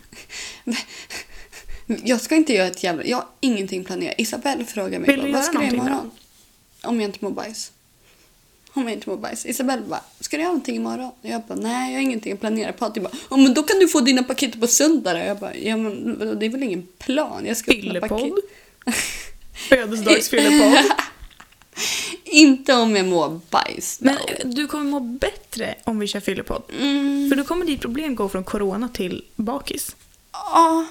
Speaker 1: jag ska inte göra ett jävla... Jag har ingenting planerat. Isabelle frågar mig
Speaker 2: Vill
Speaker 1: bara,
Speaker 2: du
Speaker 1: vad
Speaker 2: göra
Speaker 1: ska du göra
Speaker 2: någonting då?"
Speaker 1: imorgon? Om jag inte mår bajs. Om jag inte mår bajs. Isabelle bara, ska du göra någonting imorgon? Och jag bara, nej jag har ingenting att planera. Patrik bara, "Ja, men då kan du få dina paket på söndag då." Jag bara, ja men vadå, det är väl ingen plan? Jag ska öppna
Speaker 2: Fyllepodd.
Speaker 1: paket."
Speaker 2: Födelsedagsfyllepodd.
Speaker 1: Inte om jag mår bajs.
Speaker 2: Men
Speaker 1: då.
Speaker 2: du kommer må bättre om vi kör fyllepodd.
Speaker 1: Mm,
Speaker 2: För då kommer ditt problem gå från corona till bakis.
Speaker 1: ja.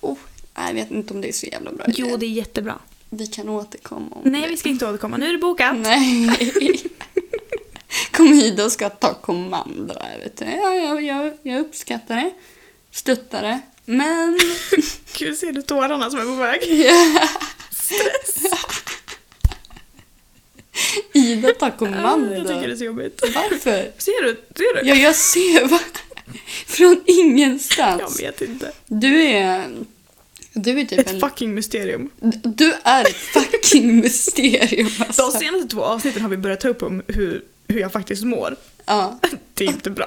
Speaker 1: Oh, nej, jag vet inte om det är så jävla bra idé.
Speaker 2: Jo, det är jättebra.
Speaker 1: Vi kan återkomma om
Speaker 2: Nej,
Speaker 1: det.
Speaker 2: vi ska inte återkomma. Nu är det bokat.
Speaker 1: Nej. Kom hit och ska ta kommando. här, Vet du. Ja, jag, jag, jag uppskattar det. Stöttar det. Men...
Speaker 2: Gud, ser du tårarna som är på väg?
Speaker 1: Ida tar
Speaker 2: Ah, Jag
Speaker 1: kommando.
Speaker 2: tycker det är så jobbigt.
Speaker 1: Varför?
Speaker 2: Ser du? Ser du?
Speaker 1: Ja, jag ser va? Från
Speaker 2: Jag
Speaker 1: ingenstans.
Speaker 2: vet inte.
Speaker 1: Du är... Du är typ
Speaker 2: Ett
Speaker 1: en...
Speaker 2: fucking mysterium.
Speaker 1: Du är ett fucking mysterium
Speaker 2: De
Speaker 1: alltså.
Speaker 2: senaste två avsnitten har vi börjat ta upp om hur, hur jag faktiskt mår.
Speaker 1: Ja.
Speaker 2: Det är inte bra.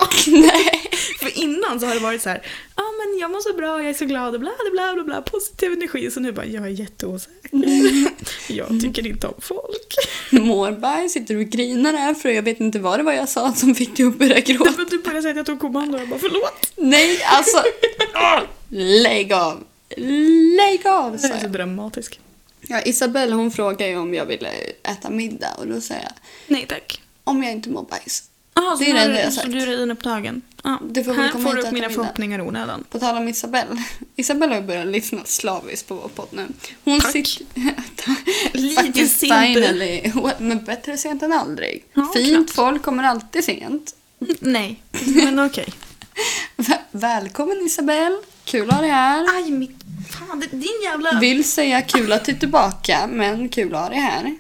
Speaker 2: För innan så har det varit så här, ja ah, men jag mår så bra, jag är så glad och bla bla bla bla, bla positiv energi. Så nu bara, jag är jätteosäker. jag tycker inte om folk.
Speaker 1: Mår bajs, sitter du och grinar här för jag vet inte vad det var jag sa som fick dig att börja gråta.
Speaker 2: Därför att du började säga typ att jag tog kommando och jag bara, förlåt.
Speaker 1: Nej, alltså... åh, Lägg av! Lägg av!
Speaker 2: Det
Speaker 1: Sa
Speaker 2: är så
Speaker 1: jag.
Speaker 2: dramatisk.
Speaker 1: Ja, Isabelle hon frågade ju om jag ville äta middag och då sa jag
Speaker 2: Nej tack.
Speaker 1: om jag inte mår bajs.
Speaker 2: Jaha, så
Speaker 1: Det är
Speaker 2: nu
Speaker 1: det
Speaker 2: är
Speaker 1: jag har
Speaker 2: du,
Speaker 1: sagt.
Speaker 2: så du är redan upptagen. Ja,
Speaker 1: Du får väl
Speaker 2: här
Speaker 1: komma
Speaker 2: får
Speaker 1: hit och äta
Speaker 2: du upp mina
Speaker 1: middag.
Speaker 2: förhoppningar i onödan.
Speaker 1: På tal om Isabelle. Isabelle har ju börjat lyssna slaviskt på vår podd nu. Hon
Speaker 2: Tack. Lite
Speaker 1: Faktiskt
Speaker 2: sent ut.
Speaker 1: finally. Men bättre sent än aldrig.
Speaker 2: Ja,
Speaker 1: Fint
Speaker 2: klart.
Speaker 1: folk kommer alltid sent.
Speaker 2: Nej, men okej.
Speaker 1: Vä- Välkommen Isabelle! Kul att ha dig här.
Speaker 2: Aj, mitt... Fan, det- din jävla...
Speaker 1: Vill säga kul att du är tillbaka, men kul att ha dig här.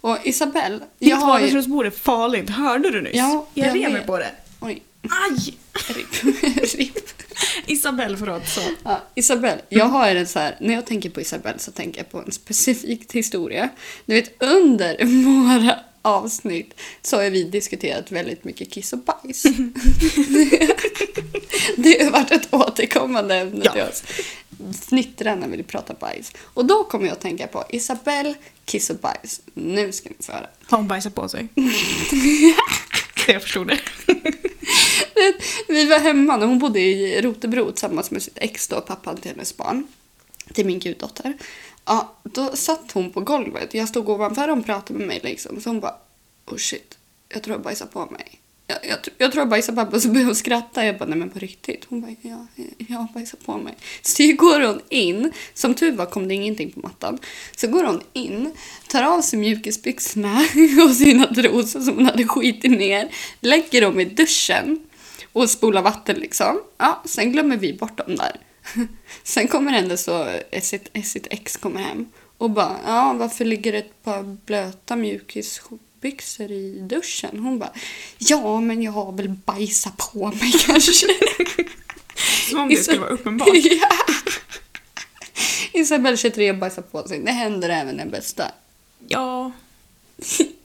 Speaker 1: Och Isabelle,
Speaker 2: Ditt
Speaker 1: jag har ju...
Speaker 2: vardagsrumsbord är farligt. Hörde du nyss?
Speaker 1: Ja,
Speaker 2: jag
Speaker 1: jag
Speaker 2: rev mig
Speaker 1: vet.
Speaker 2: på det.
Speaker 1: Oj,
Speaker 2: Aj!
Speaker 1: Ripp. Ripp.
Speaker 2: Isabelle förlåt så.
Speaker 1: Ja, Isabelle, jag har en så här, när jag tänker på Isabelle så tänker jag på en specifik historia. Du vet under våra avsnitt så har vi diskuterat väldigt mycket kiss och bajs. det har varit ett återkommande ämne
Speaker 2: Ja.
Speaker 1: till oss. Fnittra när vi pratar bajs. Och då kommer jag att tänka på Isabelle, kiss och bajs. Nu ska ni få höra.
Speaker 2: Har hon bajsat på sig? jag förstod det.
Speaker 1: Vi var hemma när hon bodde i Rotebro tillsammans med sitt ex då, pappan till hennes barn. Till min guddotter. Ja, då satt hon på golvet. Jag stod ovanför och hon pratade med mig liksom. Så hon bara, oh shit, jag tror jag bajsar på mig. Jag, jag, tr- jag tror jag bajsar på mig. Och så började hon skratta. Jag bara, nej men på riktigt. Hon bara, ja, jag bajsar på mig. Så går hon in. Som tur var kom det ingenting på mattan. Så går hon in, tar av sig mjukisbyxorna och sina trosor som hon hade skitit ner. Lägger dem i duschen och spola vatten liksom. Ja, sen glömmer vi bort dem där. Sen kommer ändå så, eh, sitt, eh, sitt ex kommer hem och bara, ja varför ligger det ett par blöta mjukisbyxor i duschen? Hon bara, ja men jag har väl bajsat på mig kanske.
Speaker 2: Som om det skulle vara uppenbart.
Speaker 1: ja. Isabelle 23 bajsar på sig, det händer även den bästa.
Speaker 2: Ja.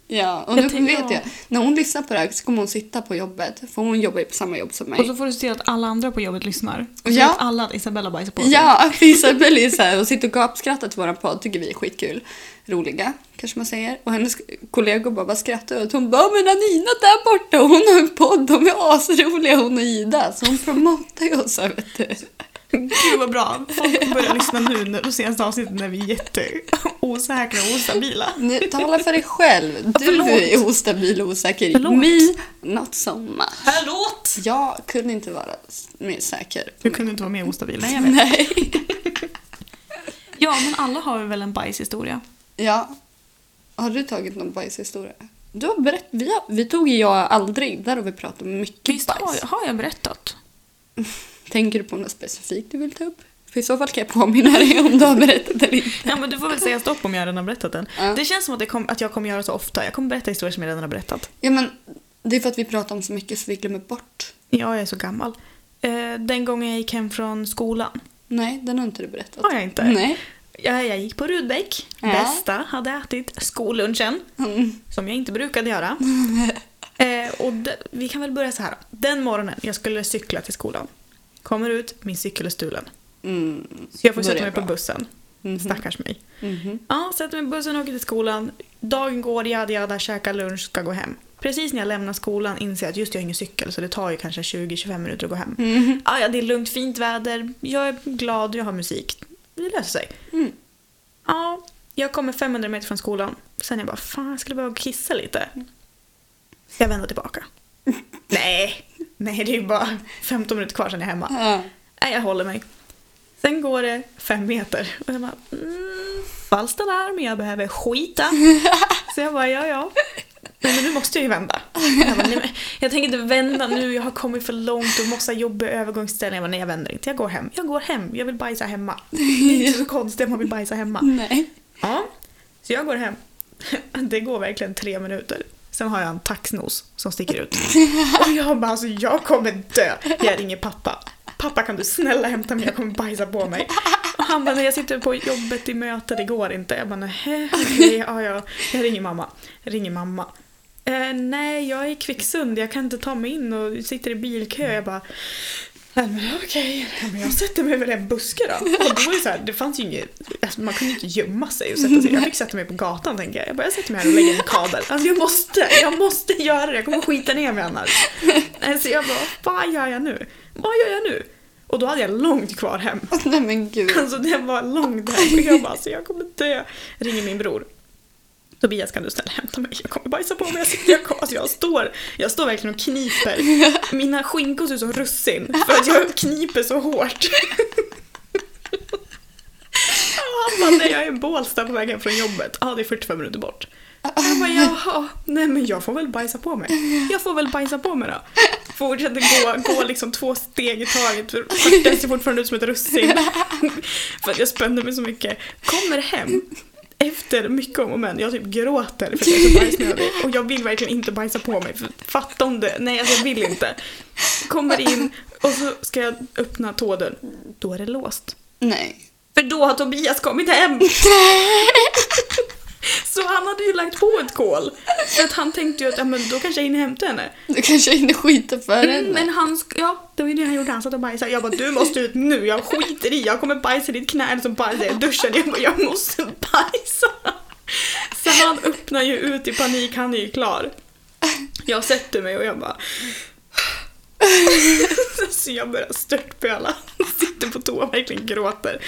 Speaker 1: Ja, och
Speaker 2: Jag
Speaker 1: nu
Speaker 2: tänker,
Speaker 1: vet
Speaker 2: ja.
Speaker 1: jag, när hon lyssnar på det här så kommer hon sitta på jobbet, för hon jobbar ju på samma jobb som mig.
Speaker 2: Och så får du se att alla andra på jobbet lyssnar. Och så
Speaker 1: Ja.
Speaker 2: vet alla att Isabella bajsar på sig.
Speaker 1: Ja, för Isabelle är så här, hon sitter och gapskrattar till våran podd, tycker vi är skitkul. Roliga, kanske man säger. Och hennes kollegor bara, vad skrattar du åt? Hon bara, men Anina där borta, hon har en podd, de är asroliga hon och Ida. Så hon promotar ju oss här vet du.
Speaker 2: Gud vad bra. Folk börjar lyssna nu när- på senaste avsnittet när vi är jätteosäkra och ostabila.
Speaker 1: Nu, tala för dig själv. Du
Speaker 2: Förlåt.
Speaker 1: är ostabil och osäker.
Speaker 2: Förlåt.
Speaker 1: Me, not so much.
Speaker 2: Förlåt!
Speaker 1: Jag kunde inte vara s- mer säker.
Speaker 2: Du kunde inte vara mer ostabil. Nej, jag vet.
Speaker 1: Nej.
Speaker 2: Ja, men alla har väl en bajshistoria?
Speaker 1: Ja. Har du tagit någon bajshistoria? Du har berättat. Vi, har, vi tog ju jag aldrig. Där har vi pratat om mycket
Speaker 2: Visst har,
Speaker 1: bajs.
Speaker 2: jag- har jag berättat?
Speaker 1: Tänker du på något specifikt du vill ta upp? För i så fall kan jag påminna dig om du har berättat eller inte.
Speaker 2: Ja, men du får väl säga stopp om jag redan har berättat den.
Speaker 1: Ja.
Speaker 2: Det känns som att, det kom, att jag kommer göra så ofta. Jag kommer berätta historier som jag redan har berättat.
Speaker 1: Ja, men det är för att vi pratar om så mycket så vi glömmer bort.
Speaker 2: Ja, jag är så gammal. Eh, den gången jag gick hem från skolan.
Speaker 1: Nej, den har inte du berättat.
Speaker 2: Har jag inte?
Speaker 1: Nej.
Speaker 2: Jag, jag gick på Rudbeck.
Speaker 1: Ja.
Speaker 2: Bästa. Hade ätit skollunchen.
Speaker 1: Mm.
Speaker 2: Som jag inte brukade göra. Eh, och de, vi kan väl börja så här. Den morgonen jag skulle cykla till skolan. Kommer ut, min cykel är stulen.
Speaker 1: Mm.
Speaker 2: Så jag får
Speaker 1: Börjar
Speaker 2: sätta mig på
Speaker 1: bra.
Speaker 2: bussen.
Speaker 1: Mhm.
Speaker 2: Stackars mig.
Speaker 1: Mhm.
Speaker 2: Ja, sätter mig på bussen och åker till skolan. Dagen går, yada yada, käkar lunch, ska gå hem. Precis när jag lämnar skolan inser jag att just jag har ingen cykel så det tar ju kanske 20-25 minuter att gå hem.
Speaker 1: Mhm.
Speaker 2: Ja, ja, det är lugnt, fint väder, jag är glad, jag har musik. Det löser sig.
Speaker 1: Mm.
Speaker 2: Ja, jag kommer 500 meter från skolan. Sen är jag bara, fan jag skulle behöva kissa lite. Så jag vänder tillbaka. nej, nej det är ju bara 15 minuter kvar sen jag är hemma.
Speaker 1: Ja.
Speaker 2: Nej, jag håller mig. Sen går det fem meter och jag bara, mm, falskt alarm, jag behöver skita. Så jag bara, ja ja. Nej men nu måste jag ju vända. Jag, bara, nej, men jag tänker inte vända nu, jag har kommit för långt och massa jobbiga övergångsställen. Jag bara, nej jag vänder inte, jag går hem. Jag går hem, jag vill bajsa hemma. Det är inte så konstigt om man vill bajsa hemma.
Speaker 1: Nej.
Speaker 2: Ja. Så jag går hem. Det går verkligen tre minuter. Sen har jag en taxnos som sticker ut. Och jag bara, alltså jag kommer dö. Jag ringer pappa. Pappa kan du snälla hämta mig, jag kommer bajsa på mig. Och han bara, nej jag sitter på jobbet i möte, det går inte. Jag bara, nej, okej, ja, ja. Jag ringer mamma. Jag ringer mamma. Eh, nej, jag är i Kvicksund, jag kan inte ta mig in och sitter i bilkö. Jag bara, nej men okej, Ja, men jag sätter mig väl i en buske då. Och det var ju så här, det fanns ju inget, alltså, man kunde ju inte gömma sig och sätta sig. Jag fick sätta mig på gatan tänker jag. Jag bara, jag sätter mig här och lägger en kabel. Alltså jag måste, jag måste göra det, jag kommer skita ner mig annars. Nej, Så jag bara, vad gör jag nu? Vad gör jag nu? Och då hade jag långt kvar hem.
Speaker 1: Nej men gud.
Speaker 2: Alltså det var långt hem och jag bara, alltså jag kommer dö. Ringer min bror. Tobias kan du snälla hämta mig? Jag kommer bajsa på mig. Jag, sitter, jag, kommer- alltså jag, står, jag står verkligen och kniper. Mina skinkor ser ut som russin för att jag kniper så hårt. Och Han bara, nej jag är i Bålsta på vägen från jobbet. Ja, ah, det är 45 minuter bort. Jag bara, jaha, nej men jag får väl bajsa på mig. Jag får väl bajsa på mig då. Fortsätter gå, gå liksom två steg i taget. för Det ser fortfarande ut som ett russin. För att jag spände mig så mycket. Kommer hem. Efter mycket om och men, jag typ gråter för att jag är så bajsnödig. Och jag vill verkligen inte bajsa på mig. För fatta om det, nej alltså jag vill inte. Kommer in och så ska jag öppna tådörren. Då är det låst.
Speaker 1: Nej.
Speaker 2: För då har Tobias kommit hem! Så han hade ju lagt på ett kol. För att han tänkte ju att ja, men då kanske jag hinner hämta henne.
Speaker 1: Du kanske hinner skita för henne.
Speaker 2: Mm, men han, sk- ja, det var ju det han gjorde. Han satt och bajsade. Jag bara, du måste ut nu. Jag skiter i. Jag kommer bajsa i ditt knä eller så bajsar jag i duschen. Jag bara, jag måste bajsa. Så han öppnar ju ut i panik. Han är ju klar. Jag sätter mig och jag bara... Så jag börjar störtböla. Sitter på toa och verkligen gråter.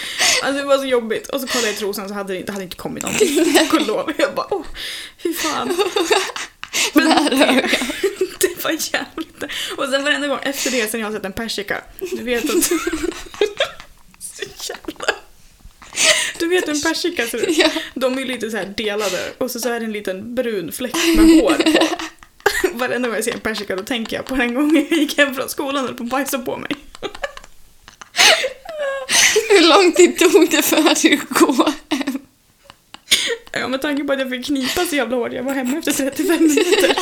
Speaker 2: Alltså det var så jobbigt. Och så kollar jag i trosan så hade det, det hade inte kommit någonting. Tack och lov. Jag bara, åh, fy fan. Men det, det var jävligt. Och sen varenda gång efter det sen jag har sett en persika. Du vet att... så jävla... Du vet hur en persika ser ut?
Speaker 1: Ja.
Speaker 2: De är ju lite så här delade och så, så är det en liten brun fläck med hår på. Varenda gång jag ser en persika då tänker jag på den gången jag gick hem från skolan och höll på att bajsa på mig.
Speaker 1: Hur lång tid tog det för att du gå hem?
Speaker 2: Ja, med tanke på att jag fick knipa så jävla hårt, jag var hemma efter 35 minuter.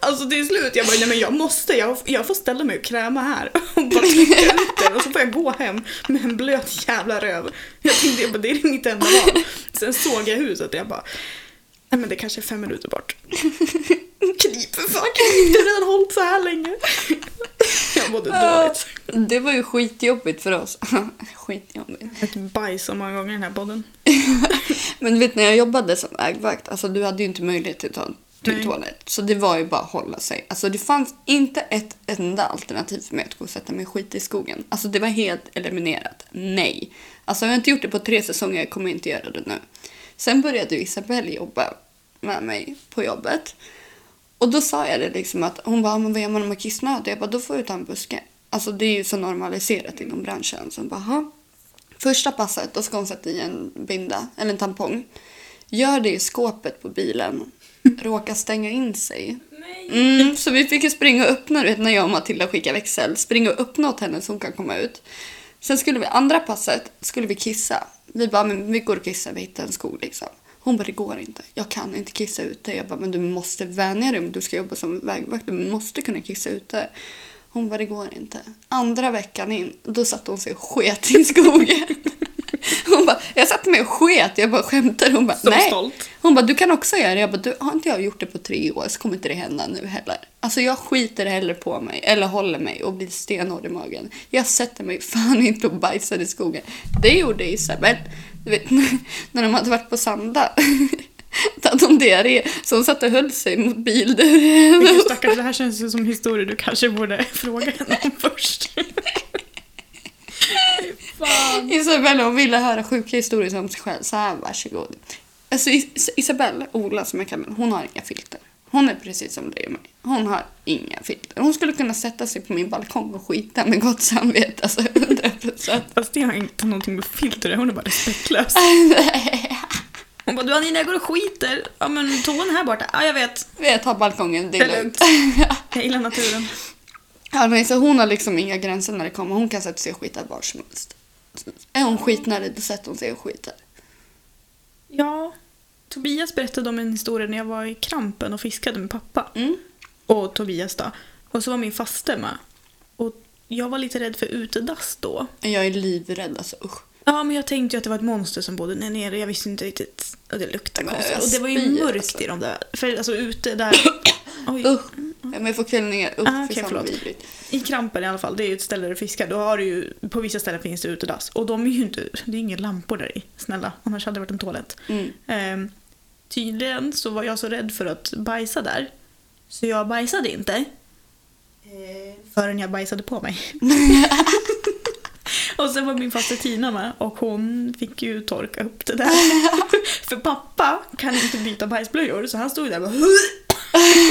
Speaker 2: Alltså till slut, jag bara nej men jag måste, jag, jag får ställa mig och kräma här. Och bara trycka ut den och så får jag gå hem med en blöt jävla röv. Jag tänkte jag bara det är mitt enda val. Sen såg jag huset och jag bara, nej men det kanske är fem minuter bort. Knip för fan, knip, det har redan hållit så här länge. Jag mådde dåligt.
Speaker 1: Det var ju skitjobbigt för oss. skitjobbigt.
Speaker 2: Ett bajs så många gånger i den här podden.
Speaker 1: Men du vet när jag jobbade som vägvakt, alltså du hade ju inte möjlighet att ta till
Speaker 2: Nej.
Speaker 1: toalett. Så det var ju bara att hålla sig. Alltså det fanns inte ett enda alternativ för mig att gå och sätta mig skit i skogen. Alltså det var helt eliminerat. Nej. Alltså jag har inte gjort det på tre säsonger, jag kommer inte göra det nu. Sen började ju Isabelle jobba med mig på jobbet. Och då sa jag det liksom att hon bara, men vad gör man om man är kissnödig? Jag bara, då får du ta en buske. Alltså det är ju så normaliserat inom branschen. Så hon bara, "Jaha." Första passet, då ska hon sätta i en binda, eller en tampong. Gör det i skåpet på bilen. Råkar stänga in sig. Mm, så vi fick ju springa och öppna, du vet när jag och Matilda skickar växel. Springa och öppna åt henne så hon kan komma ut. Sen skulle vi, andra passet, skulle vi kissa. Vi bara, men vi går och kissar, vi hittar en sko liksom. Hon bara, det går inte. Jag kan inte kissa ute. Jag bara, men du måste vänja dig om du ska jobba som vägvakt. Du måste kunna kissa ute. Hon bara, det går inte. Andra veckan in, då satte hon sig och sket i skogen. Hon bara, jag satte mig och sket. Jag bara skämtar. Hon bara,
Speaker 2: Så
Speaker 1: nej.
Speaker 2: stolt.
Speaker 1: Hon bara, du kan också göra det. Jag bara, du, har inte jag gjort det på tre år så kommer inte det hända nu heller. Alltså jag skiter hellre på mig, eller håller mig och blir stenhård i magen. Jag sätter mig fan inte och bajsar i skogen. Det gjorde Isabel. Du vet, när de hade varit på Sanda. Då hade hon diarré, så hon satt och höll sig mot bilduren.
Speaker 2: Vilken stackars, det här känns ju som historier du kanske borde fråga henne om först. Fan.
Speaker 1: Isabella hon ville höra sjuka historier om sig själv. Så här, varsågod. Alltså, Is- Isabella, Ola som jag kallar henne, hon har inga filter. Hon är precis som dig och mig. Hon har inga filter. Hon skulle kunna sätta sig på min balkong och skita med gott samvete. Alltså 100 procent.
Speaker 2: Fast det har inte någonting med filter att göra, hon är bara respektlös. Hon bara, du Anina jag går och skiter. Ja men toan här borta, ja jag vet.
Speaker 1: Jag tar balkongen, det
Speaker 2: Det är
Speaker 1: är lugnt.
Speaker 2: Jag gillar naturen.
Speaker 1: Ja, men så hon har liksom inga gränser när det kommer. Hon kan sätta sig och skita var som helst. Är hon skitnödig då sätter hon sig och skiter.
Speaker 2: Ja, Tobias berättade om en historia när jag var i Krampen och fiskade med pappa.
Speaker 1: Mm.
Speaker 2: och Tobias då. Och så var min faste med. Och jag var lite rädd för utedass då.
Speaker 1: Jag är livrädd alltså usch.
Speaker 2: Ja, men jag tänkte ju att det var ett monster som bodde där nere. Jag visste inte riktigt. Och det luktade
Speaker 1: Men
Speaker 2: konstigt.
Speaker 1: jag
Speaker 2: Och det var ju
Speaker 1: spyr,
Speaker 2: mörkt
Speaker 1: alltså.
Speaker 2: i de där. För alltså ute där... Oj.
Speaker 1: Usch. Men jag får kvällningar. Usch,
Speaker 2: Mm, Ah,
Speaker 1: fy
Speaker 2: okej,
Speaker 1: fan vad
Speaker 2: förlåt.
Speaker 1: vidrigt.
Speaker 2: I Krampen i alla fall, det är ju ett ställe där du fiskar. Då har du ju, på vissa ställen finns det utedass. Och de är ju inte... Det är inga lampor där i. Snälla, annars hade det varit en toalett.
Speaker 1: Mm.
Speaker 2: Ehm, tydligen så var jag så rädd för att bajsa där. Så jag bajsade inte. eh, Förrän jag bajsade på mig. och sen var min faster Tina med och hon fick ju torka upp det där. för pappa kan inte byta bajsblöjor så han stod där och bara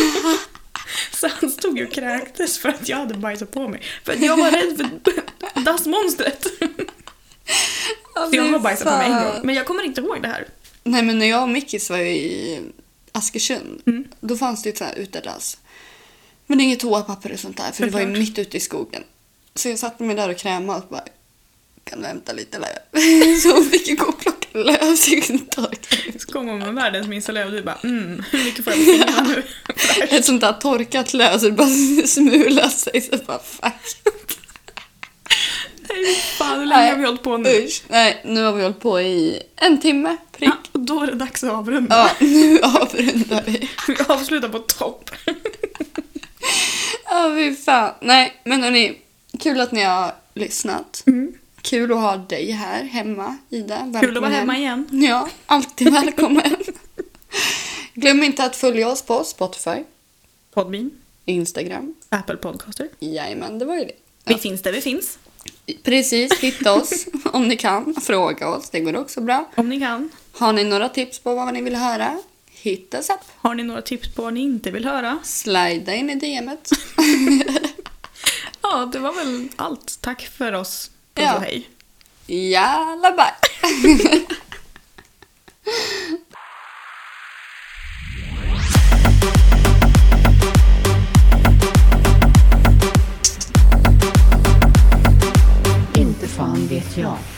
Speaker 2: Så han stod ju och kräktes för att jag hade bajsat på mig. För att jag var rädd för dassmonstret. Så jag har bajsat på mig en gång. Men jag kommer inte ihåg det här.
Speaker 1: Nej men när jag och Mickis var i Askersund,
Speaker 2: Mm.
Speaker 1: då fanns det ju ett sånt här utedass. Men inget toapapper och sånt där, för det var ju
Speaker 2: Såklart.
Speaker 1: mitt ute i skogen. Så jag satte mig där och krämade och bara, kan du hämta lite löv? så hon fick ju gå och plocka löv så jag kunde torka.
Speaker 2: Så kom hon med världens minsta löv och du bara mm, hur mycket får jag på fingrarna nu?
Speaker 1: Ett sånt där torkat löv så det bara smulade sig. Så jag bara, fuck.
Speaker 2: Nej, fan hur länge har vi hållit på nu?
Speaker 1: Usch. Nej, nu har vi hållit på i en timme prick.
Speaker 2: Ja, och då är det dags att avrunda.
Speaker 1: Ja, nu avrundar vi.
Speaker 2: Vi avslutar på topp.
Speaker 1: Ja, fy fan. Nej, men hörni. Kul att ni har lyssnat. Kul att ha dig här hemma, Ida. Välkommen
Speaker 2: Mm. Kul att vara hemma igen.
Speaker 1: Ja, alltid välkommen. Glöm inte att följa oss på Spotify,
Speaker 2: Podbean,
Speaker 1: Instagram.
Speaker 2: Apple Podcaster.
Speaker 1: Jajamän, det var ju det.
Speaker 2: Vi finns där vi finns.
Speaker 1: Precis, hitta oss om ni kan. Fråga oss, det går också bra.
Speaker 2: Om ni kan.
Speaker 1: Har ni några tips på vad ni vill höra? Hit us up.
Speaker 2: Har ni några tips på vad ni inte vill höra?
Speaker 1: Slida in i DMet.
Speaker 2: Ja, det var väl allt. Tack för oss. Puss
Speaker 1: Ja.
Speaker 2: och hej.
Speaker 1: Jalla bye!
Speaker 3: Inte fan vet jag.